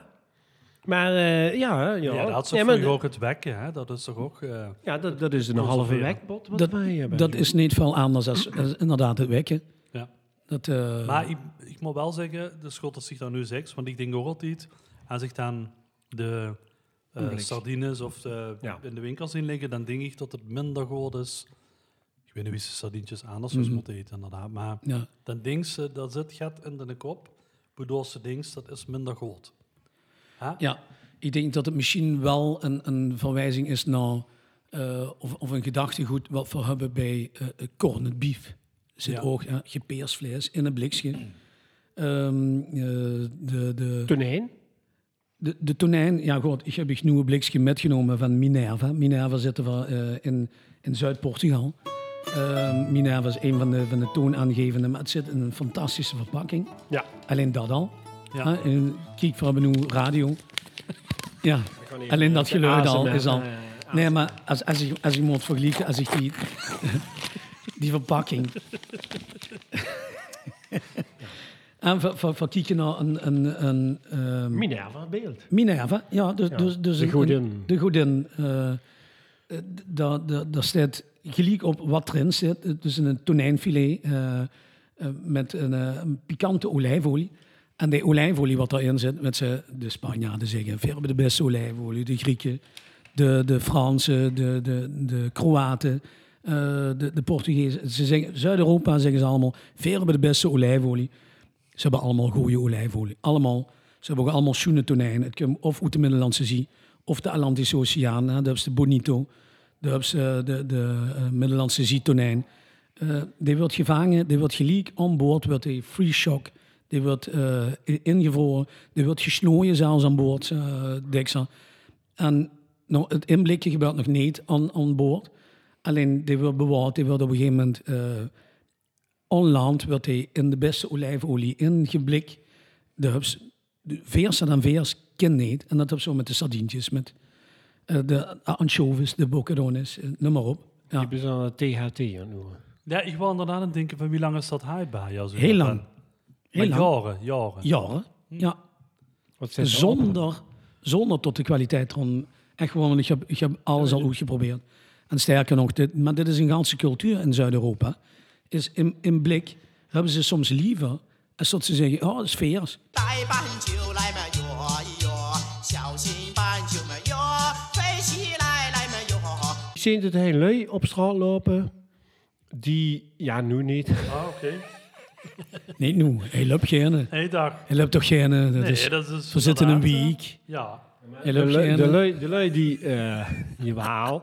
[SPEAKER 1] Maar eh, ja, ja.
[SPEAKER 3] Ja, dat is
[SPEAKER 1] Nee,
[SPEAKER 3] ook
[SPEAKER 1] maar
[SPEAKER 3] vroeger
[SPEAKER 1] d-
[SPEAKER 3] ook het wekken, hè? Dat is toch ook... eh,
[SPEAKER 1] ja, dat, dat is een halve
[SPEAKER 3] Conserveren.
[SPEAKER 1] wekpot wat
[SPEAKER 2] Dat,
[SPEAKER 1] wij hebben.
[SPEAKER 2] dat is niet veel anders als, als inderdaad het wekken.
[SPEAKER 3] ja.
[SPEAKER 2] Dat, eh,
[SPEAKER 3] Maar ik, ik moet wel zeggen, de schotters zich daar nu zegt, want ik denk ook altijd, als ik dan de eh,
[SPEAKER 1] blik.
[SPEAKER 3] sardines of de,
[SPEAKER 1] Ja.
[SPEAKER 3] in de winkel zien liggen, dan denk ik dat het minder goed is. Ik weet niet wie ze sardientjes anders
[SPEAKER 2] Mhm.
[SPEAKER 3] dus moeten eten, inderdaad. Maar
[SPEAKER 2] ja.
[SPEAKER 3] dan denkt ze, dat zit gat in de kop, waardoor ze denkt, dat is minder goed. Hè?
[SPEAKER 2] Ja, ik denk dat het misschien wel een, een verwijzing is naar, eh, of, of een gedachtegoed wat we hebben bij eh eh, corned beef. Zit
[SPEAKER 3] Ja.
[SPEAKER 2] ook hè, gepeersvlees in een blikje. Ehm, eh, de, de,
[SPEAKER 1] Tonijn.
[SPEAKER 2] de, de tonijn, ja goed, ik heb een nieuwe blikje metgenomen van Minerva. Minerva zitten we eh, in, in Zuid-Portugal. Eh, Minerva is een van de, van de toonaangevende, maar het zit in een fantastische verpakking.
[SPEAKER 1] Ja.
[SPEAKER 2] Alleen dat al.
[SPEAKER 3] Ja.
[SPEAKER 2] Ja. en kijk voor een nieuwe radio. Ja, alleen dat geluid al is al. Nee, maar als, als, ik, als ik moet vergelijken, als ik die, (laughs) die verpakking. en voor, voor, voor kijken naar een. een, een ehm,
[SPEAKER 1] Minerva beeld.
[SPEAKER 2] Minerva, ja. Dus, Dus, dus
[SPEAKER 1] de
[SPEAKER 2] een-
[SPEAKER 1] godin.
[SPEAKER 2] de godin. eh, eh, d- daar daar- daar staat gelijk op wat erin zit. Eh, Dus een tonijnfilet eh, eh, met een, eh, een pikante olijfolie. En die olijfolie wat daarin zit, met ze, de Spanjaarden zeggen, we hebben de beste olijfolie. De Grieken, de, de Fransen, de, de, de Kroaten, eh, de, de Portugezen. Ze zeggen, Zuid-Europa zeggen ze allemaal, we hebben de beste olijfolie. Ze hebben allemaal goede olijfolie. Allemaal. Ze hebben ook allemaal schoenen tonijn. Het komt of uit de Middellandse Zee, of de Atlantische Oceaan. hè. Daar is de Bonito. Daar is eh, de, de eh, Middellandse Zee tonijn. Eh, die wordt gevangen, die wordt geleakt aan boord, wordt die free shock. Die wordt eh, i- ingevroren, die wordt gesnooien zelfs aan boord, eh Dexa. En nou, het inblikje gebeurt nog niet aan, aan boord. Alleen die wordt bewaard, die wordt op een gegeven moment... eh, onland werd hij in de beste olijfolie ingeblikt. De hubs, de veers en dan veers ken niet. En dat heb zo met de sardientjes, met eh, de anchovies, de bocadones, eh, noem maar op. Ja.
[SPEAKER 1] Je bent aan het THT aan het noemen.
[SPEAKER 3] Ja, ik wou inderdaad aan het denken van wie lang is dat houdbaar? Ja, zo
[SPEAKER 2] Heel
[SPEAKER 3] dat
[SPEAKER 2] lang.
[SPEAKER 3] dan?
[SPEAKER 2] Heel
[SPEAKER 3] Maar Hm.
[SPEAKER 2] lang.
[SPEAKER 3] Jaren, jaren.
[SPEAKER 2] Jaren. Ja.
[SPEAKER 1] Wat zit erop?
[SPEAKER 2] Zonder, zonder tot de kwaliteit van echt gewoon, want ik heb, ik heb alles al goed geprobeerd. En sterker nog, dit, maar dit is een ganse cultuur in Zuid-Europa. Is in, in blik hebben ze soms liever als dat ze zeggen, oh, dat is veers.
[SPEAKER 10] 带斑鸠来嘛跃一跃，小心斑鸠们跃飞起来来嘛跃。
[SPEAKER 1] Ik zie dat heel lui op straat lopen. Die, ja, nu niet.
[SPEAKER 3] Ah, oké.
[SPEAKER 2] Nee, nu, hij loopt geen.
[SPEAKER 3] Eén dag.
[SPEAKER 2] Hij loopt toch geen... eh, Dat
[SPEAKER 3] Nee,
[SPEAKER 2] is,
[SPEAKER 3] dat is
[SPEAKER 2] we zitten een
[SPEAKER 3] inderdaad,
[SPEAKER 2] week.
[SPEAKER 3] Ja.
[SPEAKER 2] Hij
[SPEAKER 1] De
[SPEAKER 2] loopt
[SPEAKER 1] lui,
[SPEAKER 2] geen...
[SPEAKER 1] de lui, de lui die, eh (laughs) jawel.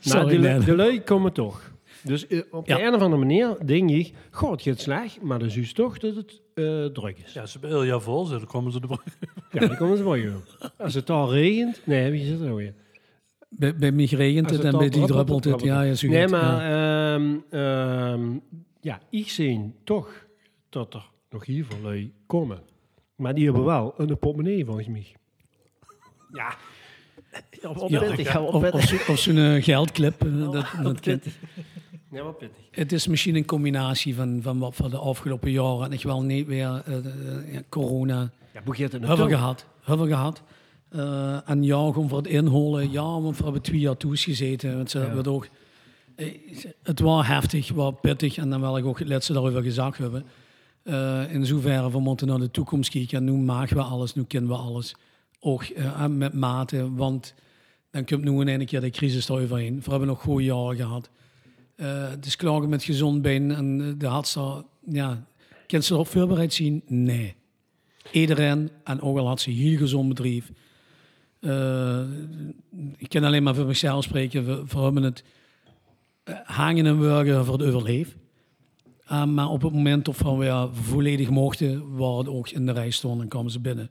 [SPEAKER 2] Sorry,
[SPEAKER 1] maar de, lui-
[SPEAKER 2] Ned.
[SPEAKER 1] de lui komen toch. Dus eh, op de
[SPEAKER 2] Ja.
[SPEAKER 1] een of andere manier denk ik, goh, het gaat slecht, maar dan zie je toch dat het eh, druk is. Ja,
[SPEAKER 3] Ja, ze hebben heel jaar vol zitten, dan komen ze de brug.
[SPEAKER 1] dan komen ze wel, joh. Als het al regent, nee, wie zit er nou weer?
[SPEAKER 2] eh, Bij, bij mij regent
[SPEAKER 1] Als
[SPEAKER 2] het
[SPEAKER 1] het
[SPEAKER 2] en bij
[SPEAKER 1] al
[SPEAKER 2] die
[SPEAKER 1] druppelt,
[SPEAKER 2] druppelt het. Ja, ja, zo
[SPEAKER 1] Nee,
[SPEAKER 2] goed, ja.
[SPEAKER 1] maar ehm, ehm, ja, ik zie toch dat er nog heel veel lui komen. Maar die hebben wel een portemonnee, volgens mij. Ja, op, op
[SPEAKER 2] Ja,
[SPEAKER 1] pittig, ja, op
[SPEAKER 2] Of, of,
[SPEAKER 1] pittig.
[SPEAKER 2] zo- of zo'n eh, geldclip. eh,
[SPEAKER 1] (laughs)
[SPEAKER 2] dat, dat kan.
[SPEAKER 1] Ja, op pittig.
[SPEAKER 2] Het is misschien een combinatie van, van wat we de afgelopen jaren... en echt wel niet weer eh, eh, ja, corona
[SPEAKER 1] Ja, hoe gaat het nou
[SPEAKER 2] hebben
[SPEAKER 1] toe?
[SPEAKER 2] gehad. Hebben gehad. Eh, en ja, gewoon voor het inholen. Ja, want we hebben twee jaar toes gezeten. Het, werd ook, eh, het was heftig, het was pittig. En dan wil ik ook het laatste daarover gezag hebben. Eh, in zoverre, we moeten naar de toekomst kijken. En nu maken we alles, nu kennen we alles. Ook eh, en met mate, want dan komt nu in één keer de crisis eroverheen. We hebben nog goede jaren gehad. Eh, het is klagen met gezond been en eh, de hartslag. Ja, kan ze erop voorbereid zien? Nee. Iedereen, en ook al had ze een heel gezond bedrijf. Eh, ik kan alleen maar voor mezelf spreken. We, we hebben het eh, hangen en werken voor het overleef. Eh, maar op het moment dat we weer volledig mochten, waar het ook in de rij stond en kwamen ze binnen.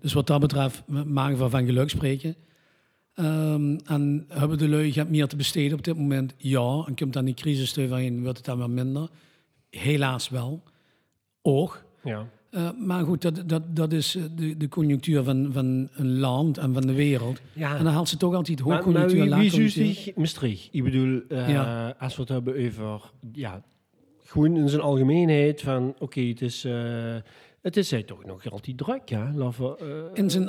[SPEAKER 2] Dus wat dat betreft we mogen we van geluk spreken. Ehm, en hebben de lui gaat meer te besteden op dit moment? Ja. En komt dan die crisis eroverheen, wordt het dan wat minder? Helaas wel. Ook.
[SPEAKER 1] Ja.
[SPEAKER 2] Eh, maar goed, dat, dat, dat is eh, de, de conjunctuur van, van een land en van de wereld.
[SPEAKER 1] Ja.
[SPEAKER 2] En dan haalt ze toch altijd
[SPEAKER 1] Maar, maar
[SPEAKER 2] hoogconjunctuur,
[SPEAKER 1] wie, wie zuust
[SPEAKER 2] laagconjunctuur.
[SPEAKER 1] zich Maastricht? Ik bedoel, eh,
[SPEAKER 2] Ja.
[SPEAKER 1] als we het hebben over... Ja, gewoon in zijn algemeenheid van... Oké, het is... eh, het is hij toch nog altijd druk, ja? Laten we, eh,
[SPEAKER 2] In zijn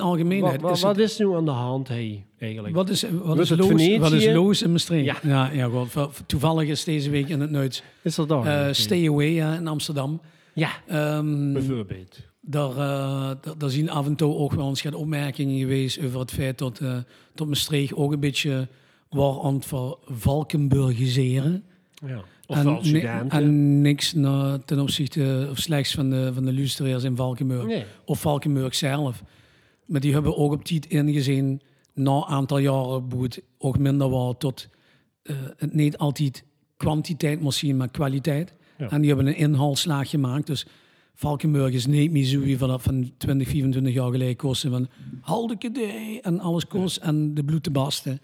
[SPEAKER 1] Wat,
[SPEAKER 2] algemeenheid.
[SPEAKER 1] wat,
[SPEAKER 2] is
[SPEAKER 1] wat
[SPEAKER 2] het-
[SPEAKER 1] is nu aan de hand, hey, eigenlijk?
[SPEAKER 2] Dus wat is, wat
[SPEAKER 1] Wordt
[SPEAKER 2] is,
[SPEAKER 1] het
[SPEAKER 2] loos,
[SPEAKER 1] Venetië?
[SPEAKER 2] wat is loos in Maastricht?
[SPEAKER 1] Ja.
[SPEAKER 2] ja, ja goed. Voor- voor- Toevallig is deze week in het Nuits
[SPEAKER 1] is er dan?
[SPEAKER 2] eh, Stay Away ja, in Amsterdam.
[SPEAKER 1] ja,
[SPEAKER 2] Ehm,
[SPEAKER 1] bijvoorbeeld.
[SPEAKER 2] daar, eh, daar, daar zien af en toe ook wel eens wat opmerkingen geweest over het feit dat, eh dat Maastricht ook een beetje waar aan het ver- Valkenburgiseren.
[SPEAKER 1] Ja.
[SPEAKER 2] en,
[SPEAKER 1] Ofwel
[SPEAKER 2] ni-
[SPEAKER 1] studenten.
[SPEAKER 2] en niks na- ten opzichte of slechts van de, van de luisteraars in Valkenburg.
[SPEAKER 1] Nee.
[SPEAKER 2] Of Valkenburg zelf. Maar die hebben ook op tijd ingezien, na een aantal jaren boet, ook minder waar tot eh, het niet altijd kwantiteit moet zien, maar kwaliteit.
[SPEAKER 1] Ja.
[SPEAKER 2] En die hebben een inhaalslag gemaakt. Dus Valkenburg is niet Missouri vanaf van 20, 25 jaar geleden kosten van Haldeke Day en alles kost en de bloed te barsten.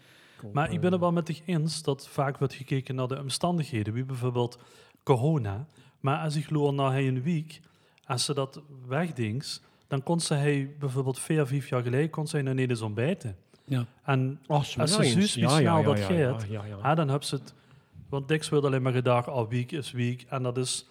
[SPEAKER 3] Maar ik ben het wel met dich eens dat vaak wordt gekeken naar de omstandigheden. Wie bijvoorbeeld corona. Maar als ik loer naar hij een week, als ze dat wegdings, dan kon ze hij bijvoorbeeld vier, vijf jaar geleden kon ze hij naar Nederland ontbijten.
[SPEAKER 2] Ja.
[SPEAKER 3] En
[SPEAKER 1] Oh, zo
[SPEAKER 3] als ze
[SPEAKER 1] eens.
[SPEAKER 3] zo
[SPEAKER 1] Ja,
[SPEAKER 3] speciaal
[SPEAKER 1] ja, ja,
[SPEAKER 3] dat
[SPEAKER 1] ja,
[SPEAKER 3] geeft,
[SPEAKER 1] ja, ja, ja.
[SPEAKER 3] ah, dan hebben ze het. Want Dix wil alleen maar gedacht, al week is week. En dat is,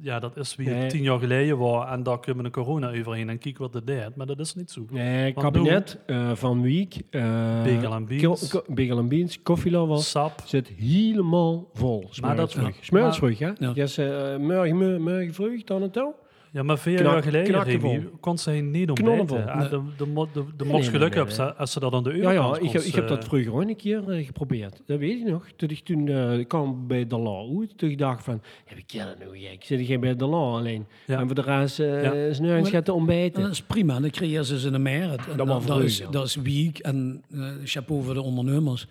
[SPEAKER 3] ja, dat is wie het
[SPEAKER 1] Nee.
[SPEAKER 3] tien jaar geleden was. En daar kunnen we een corona overheen en kijk wat de deed. Maar dat is niet zo.
[SPEAKER 1] Nee,
[SPEAKER 3] Want
[SPEAKER 1] Eh, kabinet eh, van Wiek. eh,
[SPEAKER 3] Bagel and Beans.
[SPEAKER 1] ko- ko- Bagel and Beans, Koffiela was.
[SPEAKER 3] Sap.
[SPEAKER 1] Zit helemaal vol.
[SPEAKER 3] dat-
[SPEAKER 1] Smeursvrucht.
[SPEAKER 3] ja.
[SPEAKER 1] Smeursvrucht, hè?
[SPEAKER 2] Ja.
[SPEAKER 1] Ja. Yes, eh morgen, morgen, morgen vroeg, dan en dan.
[SPEAKER 3] Ja, maar vier
[SPEAKER 1] Knak-
[SPEAKER 3] jaar geleden
[SPEAKER 1] knakkenvol.
[SPEAKER 3] Remy, kon ze niet
[SPEAKER 1] Knollenvol.
[SPEAKER 3] ontbijten. Ah, De, de, mo- de, de
[SPEAKER 1] Nee,
[SPEAKER 3] mocht
[SPEAKER 1] nee,
[SPEAKER 3] geluk
[SPEAKER 1] nee,
[SPEAKER 3] hebben
[SPEAKER 1] nee.
[SPEAKER 3] ze- als ze dat aan de
[SPEAKER 1] Ja,
[SPEAKER 3] euro
[SPEAKER 1] ja ik, heb, ik heb dat vroeger ook een keer eh, geprobeerd. Dat weet ik nog. Toen ik toen eh, kwam bij De La uit, toen ik dacht van, ja, we kennen nou gek. Zit jij bij De La alleen?
[SPEAKER 3] Ja.
[SPEAKER 1] En voor de rest eh
[SPEAKER 3] Ja.
[SPEAKER 1] is nu eens
[SPEAKER 2] Maar-
[SPEAKER 1] gaan te
[SPEAKER 2] En
[SPEAKER 1] ontbijten.
[SPEAKER 2] dat is prima, dan creëer ze ze een merit. En
[SPEAKER 1] Dat
[SPEAKER 2] dat,
[SPEAKER 1] mag
[SPEAKER 2] dat is,
[SPEAKER 1] vreugde.
[SPEAKER 2] dat is week en eh, chapeau voor de ondernemers.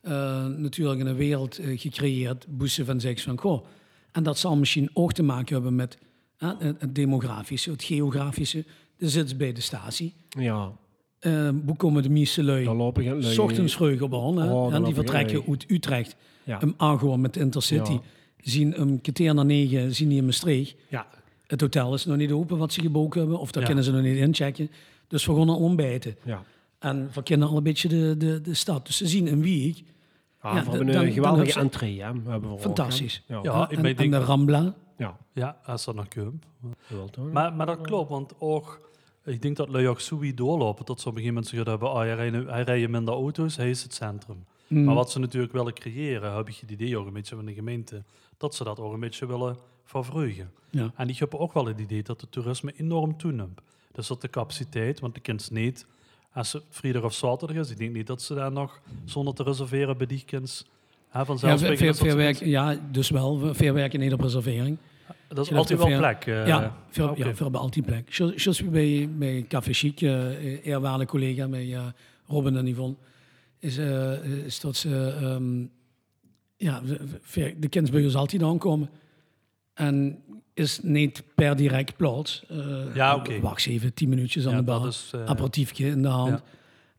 [SPEAKER 2] Eh, natuurlijk in een wereld eh, gecreëerd, boesten van seks van goh. En dat zal misschien ook te maken hebben met eh, het het demografische, het geografische. Er zit bij de statie.
[SPEAKER 1] Ja,
[SPEAKER 2] Eh, hoe komen de meeste lui?
[SPEAKER 1] dan loop ik het leuk.
[SPEAKER 2] ochtends vroeg op al. hè.
[SPEAKER 1] Oh, dan loop
[SPEAKER 2] en die
[SPEAKER 1] ik
[SPEAKER 2] vertrekken
[SPEAKER 1] leeg.
[SPEAKER 2] uit Utrecht.
[SPEAKER 1] Ja.
[SPEAKER 2] Hem aangehoord met de Intercity.
[SPEAKER 1] Ja.
[SPEAKER 2] Zien hem keteer naar negen, zien die in Maastricht.
[SPEAKER 1] Ja,
[SPEAKER 2] Het hotel is nog niet open wat ze geboken hebben. Of daar
[SPEAKER 1] Ja.
[SPEAKER 2] kunnen ze nog niet inchecken. Dus we gaan al ontbijten.
[SPEAKER 1] ja.
[SPEAKER 2] En we kennen al een beetje de, de, de stad. Dus ze zien een week.
[SPEAKER 1] Ah,
[SPEAKER 3] Oh,
[SPEAKER 2] Ja,
[SPEAKER 1] we
[SPEAKER 2] dan-
[SPEAKER 1] hebben
[SPEAKER 2] dan-
[SPEAKER 1] een
[SPEAKER 2] dan
[SPEAKER 1] geweldige
[SPEAKER 2] heb ze-
[SPEAKER 1] entree, hè? We hebben we ook, hè.
[SPEAKER 2] Fantastisch.
[SPEAKER 1] Ja,
[SPEAKER 3] Ja.
[SPEAKER 1] ja.
[SPEAKER 3] ik
[SPEAKER 2] en,
[SPEAKER 3] ben-
[SPEAKER 2] en de Rambla.
[SPEAKER 3] Ja, als dat nog kan.
[SPEAKER 1] wel toch?
[SPEAKER 3] Maar, maar dat klopt, want ook, ik denk dat Lui ook zo wie doorlopen tot ze op een gegeven moment zeggen hebben, ah, hij rijden, hij rijden minder auto's, hij is het centrum.
[SPEAKER 1] Mm.
[SPEAKER 3] Maar wat ze natuurlijk willen creëren, heb ik het idee ook een beetje van de gemeente, dat ze dat ook een beetje willen vervreugden.
[SPEAKER 2] Mm. Ja.
[SPEAKER 3] En ik heb ook wel het idee dat het toerisme enorm toeneemt. Dus dat de capaciteit, want de kind niet, als het vrijdag of zaterdag is, ik denk niet dat ze daar nog, zonder te reserveren bij die kind, hè,
[SPEAKER 2] Ja,
[SPEAKER 3] vanzelf
[SPEAKER 2] ve- ve- ver werk- ja, dus wel. Veel werken in op reservering.
[SPEAKER 3] Dat is
[SPEAKER 2] Je loopt
[SPEAKER 3] altijd wel
[SPEAKER 2] er ver-
[SPEAKER 3] plek. eh,
[SPEAKER 2] ja, veel,
[SPEAKER 3] oké.
[SPEAKER 2] ja, veel bij altijd plek. Zoals zoals we bij, bij Café Chic, eh eerwaarde collega, bij eh, Robin en Yvonne, is, eh, is dat ze... ehm, ja, we- we- ver- de kindsburgers altijd aankomen. En is niet per direct plaats. Eh,
[SPEAKER 3] Ja, oké.
[SPEAKER 2] Wacht eens even, tien minuutjes aan
[SPEAKER 3] Ja,
[SPEAKER 2] de
[SPEAKER 3] dat
[SPEAKER 2] bar.
[SPEAKER 3] is, eh,
[SPEAKER 2] aperitiefje in de hand.
[SPEAKER 3] ja.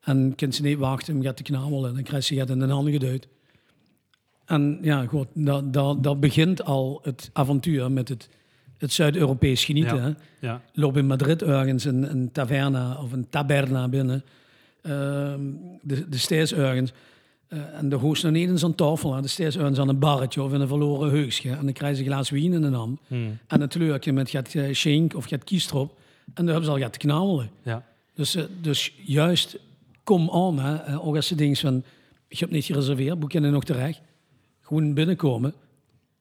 [SPEAKER 2] En kind ze niet wachten, hem gaat de knabel en dan krijgt ze het in de handen geduwd. En ja, goed, dat, dat, dat begint al het avontuur met het, het Zuid-Europees genieten.
[SPEAKER 3] Ja.
[SPEAKER 2] hè.
[SPEAKER 3] Ja.
[SPEAKER 2] Loop in Madrid ergens een, een taverna of een taberna binnen. Ehm, de, de stijs ergens. Eh, en de host naar neden is aan tafel. hè. De stijs ergens aan een barretje of in een verloren heusje. En dan krijg je een glas wien in een hand.
[SPEAKER 3] Hmm.
[SPEAKER 2] En een leukje met gaat eh, schenk of gaat kiestrop. En dan hebben ze al gaat knabbelen.
[SPEAKER 3] Ja.
[SPEAKER 2] Dus, eh, dus juist, kom aan. Hè. Eh, Ook als ze denken van, ik heb niet gereserveerd, boek je nog terecht. Gewoon binnenkomen.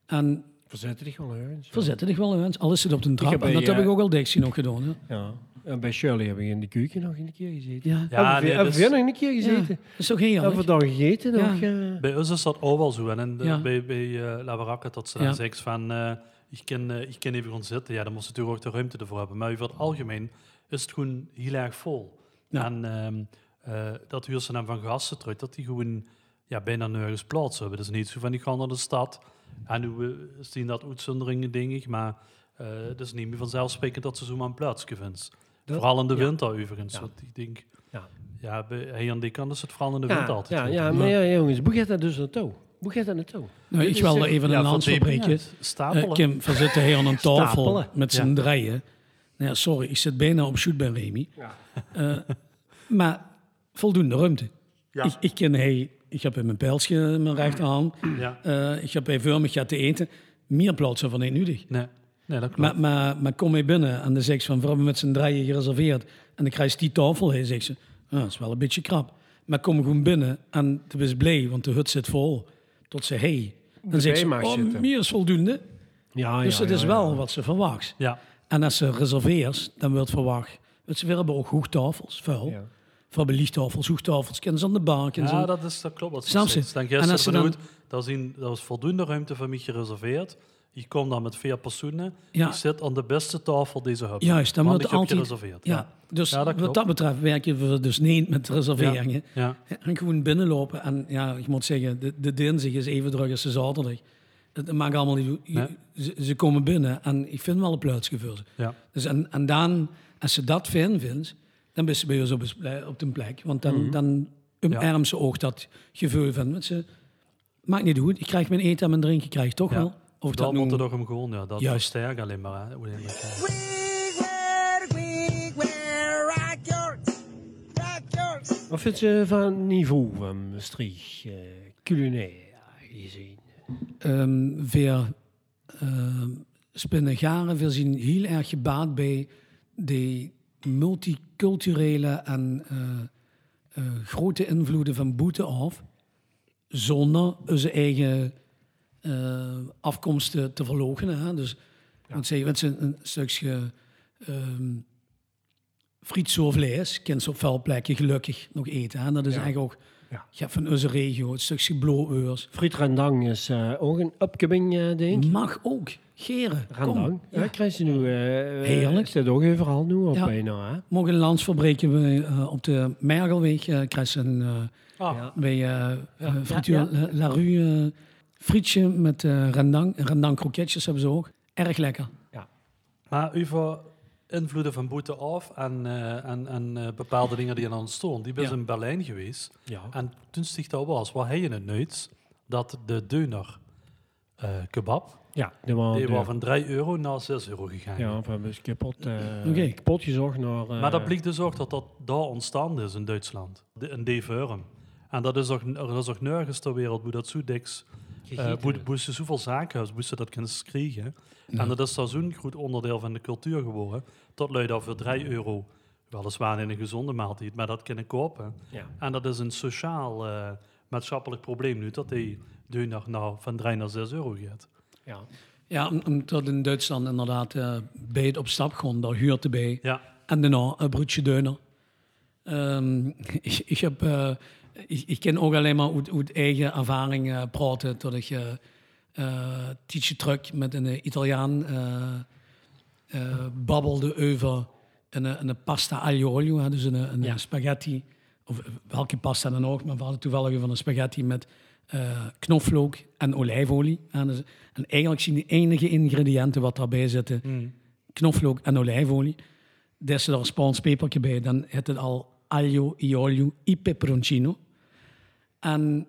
[SPEAKER 2] En
[SPEAKER 1] Verzetten die gewoon ergens.
[SPEAKER 2] verzetten zich wel eens. Al is het op de trap.
[SPEAKER 1] heb
[SPEAKER 2] en dat
[SPEAKER 1] bij,
[SPEAKER 2] heb
[SPEAKER 1] eh,
[SPEAKER 2] ik ook al dikst nog gedaan. Hè.
[SPEAKER 1] Ja. En bij Shirley heb ik in de keuken nog een keer gezeten.
[SPEAKER 2] Ja.
[SPEAKER 3] Ja,
[SPEAKER 1] hebben we
[SPEAKER 3] nee,
[SPEAKER 1] hebben
[SPEAKER 3] dus-
[SPEAKER 1] we nog een keer gezeten?
[SPEAKER 2] Dat is toch heerlijk?
[SPEAKER 1] Hebben we dan gegeten
[SPEAKER 2] Ja.
[SPEAKER 1] nog? eh?
[SPEAKER 3] Bij ons is dat ook wel zo. En in de-
[SPEAKER 2] Ja.
[SPEAKER 3] bij, bij eh, La Baraka dat ze
[SPEAKER 2] Ja.
[SPEAKER 3] dan zegt van... eh, ik, kan, eh, ik kan even gaan zitten. Ja, dan moest je natuurlijk ook de ruimte ervoor hebben. Maar over het algemeen is het gewoon heel erg vol.
[SPEAKER 2] Ja.
[SPEAKER 3] En ehm, eh, dat huur ze dan van gasten terug. Dat die gewoon ja, bijna nergens plaats hebben. Dus niet zo van, ik ga naar de stad. En nu eh, zien dat uitzonderingen, denk ik. Maar eh, het is niet meer vanzelfsprekend dat ze zomaar een plaatsje vindt.
[SPEAKER 1] Dat-
[SPEAKER 3] Vooral in de
[SPEAKER 1] ja.
[SPEAKER 3] winter, overigens.
[SPEAKER 1] Ja.
[SPEAKER 3] Want ik denk...
[SPEAKER 1] Ja.
[SPEAKER 3] Ja, bij hij aan die kant is het vooral in de winter
[SPEAKER 1] Ja,
[SPEAKER 3] altijd
[SPEAKER 1] ja,
[SPEAKER 3] goed.
[SPEAKER 1] ja, maar ja, jongens, hoe gaat dat dus naartoe? Hoe gaat dat naartoe?
[SPEAKER 2] Nou,
[SPEAKER 1] Dit
[SPEAKER 2] ik
[SPEAKER 1] is eh,
[SPEAKER 2] wil
[SPEAKER 1] echt-
[SPEAKER 2] even een lans verbreken.
[SPEAKER 3] ja, stapelen.
[SPEAKER 2] Eh, Kim, we zitten hier aan een tafel
[SPEAKER 1] Stapelen.
[SPEAKER 2] met z'n drieën. Nou, ja, sorry, ik zit bijna op shoot bij Remy. Eh, maar voldoende ruimte. Ik, ik ken hij, ik heb in mijn pijlsje in mijn rechterhand.
[SPEAKER 3] Ja.
[SPEAKER 2] Eh, ik heb bij Vurmig gaat te eten. Meer plaatsen van één nodig.
[SPEAKER 3] Nee, nee, dat klopt.
[SPEAKER 2] Maar, maar, maar kom mee binnen en dan zegt ze van, we hebben met z'n drieën gereserveerd. En dan krijg je die tafel heen, zegt ze. "Ah, dat is wel een beetje krap. Maar kom gewoon binnen en toen is blij, want de hut zit vol. Tot ze, hey. Dan zegt ze,
[SPEAKER 1] bijmaak
[SPEAKER 2] oh,
[SPEAKER 1] zitten." Ah,
[SPEAKER 2] meer is voldoende.
[SPEAKER 1] Ja,
[SPEAKER 2] Dus
[SPEAKER 1] ja,
[SPEAKER 2] het
[SPEAKER 1] ja,
[SPEAKER 2] is
[SPEAKER 1] ja.
[SPEAKER 2] wel wat ze verwacht.
[SPEAKER 3] ja,
[SPEAKER 2] En als ze reserveert, dan wordt verwacht. Want ze hebben ook hoogtafels, vuil.
[SPEAKER 1] Ja.
[SPEAKER 2] Voor belichttafels, hoogtafels, kennen ze aan de bank en zo.
[SPEAKER 3] ja dat, is, dat klopt. Wat
[SPEAKER 2] Snap
[SPEAKER 3] ze
[SPEAKER 2] je?
[SPEAKER 3] zegt.
[SPEAKER 2] En
[SPEAKER 3] Dan
[SPEAKER 2] als ze
[SPEAKER 3] gisteren
[SPEAKER 2] dan-
[SPEAKER 3] benoemd, dat is, in- dat is voldoende ruimte voor mij gereserveerd. Ik kom dan met vier personen.
[SPEAKER 2] Ja.
[SPEAKER 3] Ik zit aan de beste tafel die ze hebben.
[SPEAKER 2] Juist, dan
[SPEAKER 3] Want
[SPEAKER 2] wordt
[SPEAKER 3] ik heb
[SPEAKER 2] altijd...
[SPEAKER 3] gereserveerd.
[SPEAKER 2] Ja,
[SPEAKER 3] ja.
[SPEAKER 2] dus
[SPEAKER 3] Ja, dat
[SPEAKER 2] wat
[SPEAKER 3] klopt.
[SPEAKER 2] dat betreft werken we dus niet met reserveringen.
[SPEAKER 3] Ja.
[SPEAKER 2] En gewoon binnenlopen. En ja, ik moet zeggen, de, de dinsdag is even druk als de zaterdag. Het maakt allemaal niet uit.
[SPEAKER 3] Nee.
[SPEAKER 2] Ze, ze komen binnen en ik vind wel een plaatsje voor ze.
[SPEAKER 3] Ja.
[SPEAKER 2] Dus en, en dan, als ze dat fijn vindt, dan ben je bij ons op, een plek- op de plek. Want dan,
[SPEAKER 3] Mhm.
[SPEAKER 2] dan omarmt ze ook dat gevoel van... want Ze, maakt niet uit, ik krijg mijn eten en mijn drinken, krijg ik toch
[SPEAKER 3] Ja.
[SPEAKER 2] wel. Of
[SPEAKER 3] dat moet er
[SPEAKER 2] noemen-
[SPEAKER 3] toch om gewoon, ja. Dat
[SPEAKER 2] Juist.
[SPEAKER 3] versterkt alleen maar. Hè. Hoe denk ik, eh,
[SPEAKER 1] Wat vindt ze van het niveau van Maastricht eh, culinair gezien?
[SPEAKER 2] ehm weer ehm spinnengaren. We zien heel erg gebaat bij de multiculturele en eh, eh, grote invloeden van boete af, zonder onze eigen eh, afkomsten te verloochenen. Hè? Dus, want zij wensen een stukje ehm friet of vlees, kind ze op veel plekken gelukkig nog eten. Hè? Dat is
[SPEAKER 1] Ja.
[SPEAKER 2] eigenlijk ook
[SPEAKER 1] Ja.
[SPEAKER 2] ja, van onze regio, een stukje blauweurs.
[SPEAKER 1] Friet rendang is eh, ook een upcoming eh, ding.
[SPEAKER 2] Mag ook. Geren.
[SPEAKER 1] Rendang.
[SPEAKER 2] Kom.
[SPEAKER 1] Ja, krijg je nu. eh, eh,
[SPEAKER 2] Heerlijk.
[SPEAKER 1] Staat ook overal nu op
[SPEAKER 2] Ja.
[SPEAKER 1] bijna. Hè?
[SPEAKER 2] Morgen een landsverbreken we, eh, op de Mergelweg. eh krijg je een eh,
[SPEAKER 3] Ah,
[SPEAKER 1] Ja.
[SPEAKER 2] bij eh, eh, frituur La- La Rue eh, frietje met eh, rendang. Rendang kroketjes hebben ze ook. Erg lekker.
[SPEAKER 3] Maar over invloeden van boete af en, eh, en, en eh, bepaalde dingen die er aan stonden. Die ben
[SPEAKER 2] Ja.
[SPEAKER 3] in Berlijn geweest.
[SPEAKER 1] Ja.
[SPEAKER 3] En toen sticht dat was, waar hij in het nooit dat de deuner eh, kebab,
[SPEAKER 1] Ja, die waren.
[SPEAKER 3] die
[SPEAKER 1] de-
[SPEAKER 3] was van 3 euro naar 6 euro gegaan.
[SPEAKER 1] Oh, Ja, we hebben ze kapot, eh
[SPEAKER 2] Oké.
[SPEAKER 1] kapot gezocht naar. eh,
[SPEAKER 3] Maar dat blijkt dus ook dat dat daar ontstaan is in Duitsland, de, in Deveurum. En dat is ook, dat is ook nergens ter wereld hoe dat zo diks, eh,
[SPEAKER 1] gegeten.
[SPEAKER 3] hoe hoe ze zoveel zakenhuis, hoe ze dat kunnen krijgen. En dat is daar zo'n goed onderdeel van de cultuur geworden, dat luidt dat voor 3 euro, weliswaar in een gezonde maaltijd, maar dat kunnen kopen.
[SPEAKER 1] Ja.
[SPEAKER 3] En dat is een sociaal, eh, maatschappelijk probleem nu, dat die deuner nou van 3 naar 6 euro gaat.
[SPEAKER 1] Ja.
[SPEAKER 2] Ja, om- omdat in Duitsland inderdaad eh, bij het op stap gewoon, daar huurt erbij.
[SPEAKER 3] Ja,
[SPEAKER 2] En daarna een broodje deuner. Ehm, (laughs) ik, ik, heb, eh, ik, ik ken ook alleen maar uit, uit eigen ervaring eh, praten. Dat ik eh eh, tietje truck met een eh, Italiaan eh, eh, babbelde over een, eh, een pasta aglio olio. hè, Dus een, een
[SPEAKER 1] Ja.
[SPEAKER 2] spaghetti, of eh, welke pasta dan ook. Maar we hadden toevallig van een spaghetti met eh knoflook en olijfolie. hè, dus- en eigenlijk zien de enige ingrediënten wat daarbij zitten knoflook en olijfolie. Daar zit al een Spaans pepertje bij. Dan heet het al aglio, e olio, e peperoncino. En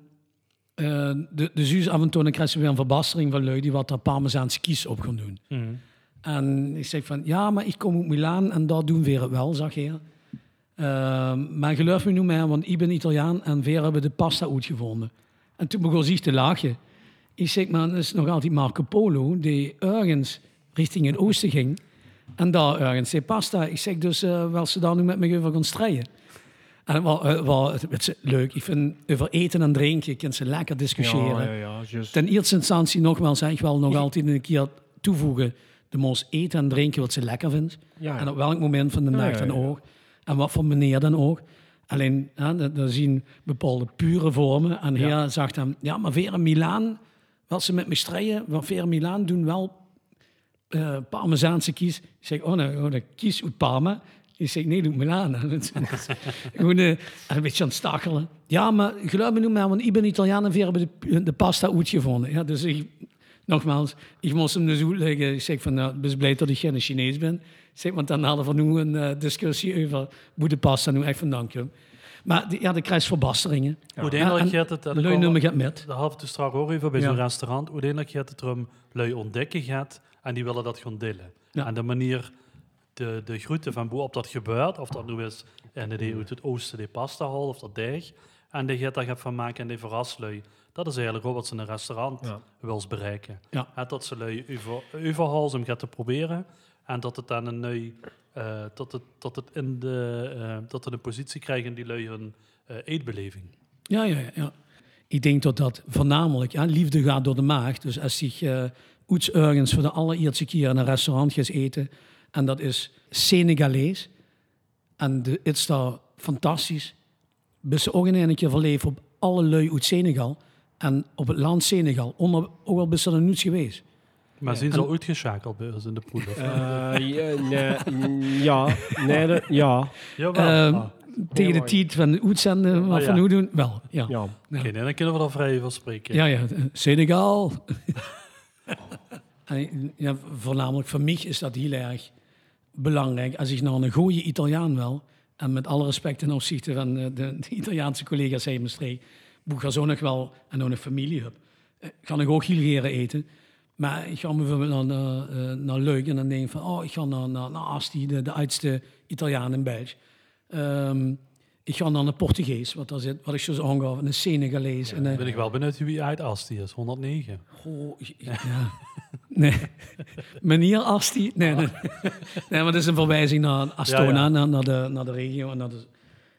[SPEAKER 2] eh, de, de zuus af en toe dan krijg je weer een verbastering van lui die wat daar Parmezaanse kies op gaan doen. En ik zeg van, ja, maar ik kom uit Milaan en daar doen we het wel, zag je. Eh, maar geloof me nu maar, want ik ben Italiaan en we hebben de pasta uitgevonden. En toen begon zich te lachen. Ik zeg, maar dat is nog altijd Marco Polo, die ergens richting het oosten ging. En daar ergens zei pasta. Ik zeg dus, eh wel ze daar nu met me over gaan strijden. En wel, eh, wel, het, het is leuk. Ik vind over eten en drinken, je kunt ze lekker discussiëren.
[SPEAKER 1] Ja, ja, ja, juist.
[SPEAKER 2] Dus Ten eerste instantie nogmaals, hè, ik wil nog altijd een keer toevoegen. De moos eten en drinken wat ze lekker vindt.
[SPEAKER 1] Ja, ja.
[SPEAKER 2] En op welk moment van de
[SPEAKER 1] Ja,
[SPEAKER 2] nacht
[SPEAKER 1] ja,
[SPEAKER 2] dan
[SPEAKER 1] ja.
[SPEAKER 2] ook. En wat voor meneer dan ook. Alleen, hè, da- daar zien bepaalde pure vormen. En hier zag dan, ja, maar Vera Milaan, wat ze met me strijden, want Vera Milaan doen wel eh Parmezaanse kies. Ik zeg, oh, nou, oh, dan kies uit Parma. Ik zeg, nee, doe Milaan. (laughs) Gewoon eh, een beetje aan het stachelen. Ja, maar geloof me nu maar, want ik ben Italiaan en we hebben de, de pasta uitgevonden. Ja, dus ik, nogmaals, ik moest hem dus uitleggen. Ik zeg van, nou, ik ben blij dat ik geen Chinees ben. Ik zeg, want dan hadden we nu een eh, discussie over hoe de pasta nu echt vandaan komt. Maar die- ja, de krijgt verbasteringen.
[SPEAKER 3] uiteindelijk
[SPEAKER 2] En- en
[SPEAKER 3] gaat het... en dan
[SPEAKER 2] lui
[SPEAKER 3] komen-
[SPEAKER 2] nummer gaat met.
[SPEAKER 3] Dat had ik dus straks ook even bij
[SPEAKER 2] Ja.
[SPEAKER 3] zo'n restaurant. Uiteindelijk gaat het erom lui ontdekken gaat en die willen dat gaan delen.
[SPEAKER 2] Ja.
[SPEAKER 3] En de manier, de, de groeten van boe op dat gebeurt, of dat nu is en die uit het oosten die pasta haalt of dat deeg, en die gaat daar gaat van maken en die verrast lui. Dat is eigenlijk ook wat ze in een restaurant
[SPEAKER 1] Ja.
[SPEAKER 3] wil eens bereiken.
[SPEAKER 2] Ja.
[SPEAKER 3] Hè, dat ze lui over- overhals om gaat te proberen en dat het dan een lui, eh, dat, het, dat het in de, eh, dat het een positie krijgen die lui hun eh, eetbeleving.
[SPEAKER 2] Ja, ja, ja, ja. Ik denk dat dat voornamelijk, ja, liefde gaat door de maag. Dus als je eh iets ergens voor de allereerste keer in een restaurant gaat eten, en dat is Senegalees, en de, het is daar fantastisch, ben ze ook in een keer verleefd op alle lui uit Senegal, en op het land Senegal, onder, ook al ben ze er niet geweest.
[SPEAKER 3] Maar zijn ze al uitgeschakeld bij ons in de poel? of
[SPEAKER 1] (laughs)
[SPEAKER 3] niet?
[SPEAKER 1] Eh, ja, nee, mm, ja, nee, dat- eh, ja,
[SPEAKER 3] Jawel.
[SPEAKER 2] Ehm,
[SPEAKER 3] Ah,
[SPEAKER 2] Tegen de
[SPEAKER 1] mooi.
[SPEAKER 2] tijd van de uitzenden, wat
[SPEAKER 3] ja.
[SPEAKER 2] van hoe doen, wel, ja.
[SPEAKER 1] ja.
[SPEAKER 3] Oké, nee, dan kunnen we er vrij van spreken.
[SPEAKER 2] Ja, ja, eh, Senegal. (laughs) En ja, voornamelijk voor mij is dat heel erg belangrijk. Als ik nou een goede Italiaan wel, en met alle respect ten opzichte van eh, de, de Italiaanse collega's in mijn streek, boek ga zo nog wel en nog een familie heb. Eh, Ga nog ook heel geren eten. Maar ik ga bijvoorbeeld naar, naar, eh, naar Leuk en dan denk ik van, oh, ik ga naar, naar, naar Asti, de, de oudste Italiaan in België. Ehm, ik ga naar een Portugees, wat, daar zit, wat ik zo aangaf, en een Senegalees. en een-
[SPEAKER 3] ben ik wel benieuwd wie uit Asti is. 109.
[SPEAKER 2] Goh, je- je- ja. Nee, meneer Asti. Nee, nee. nee, maar dat is een verwijzing naar Astona,
[SPEAKER 3] Ja, ja.
[SPEAKER 2] Naar, naar, de, naar de regio en naar de,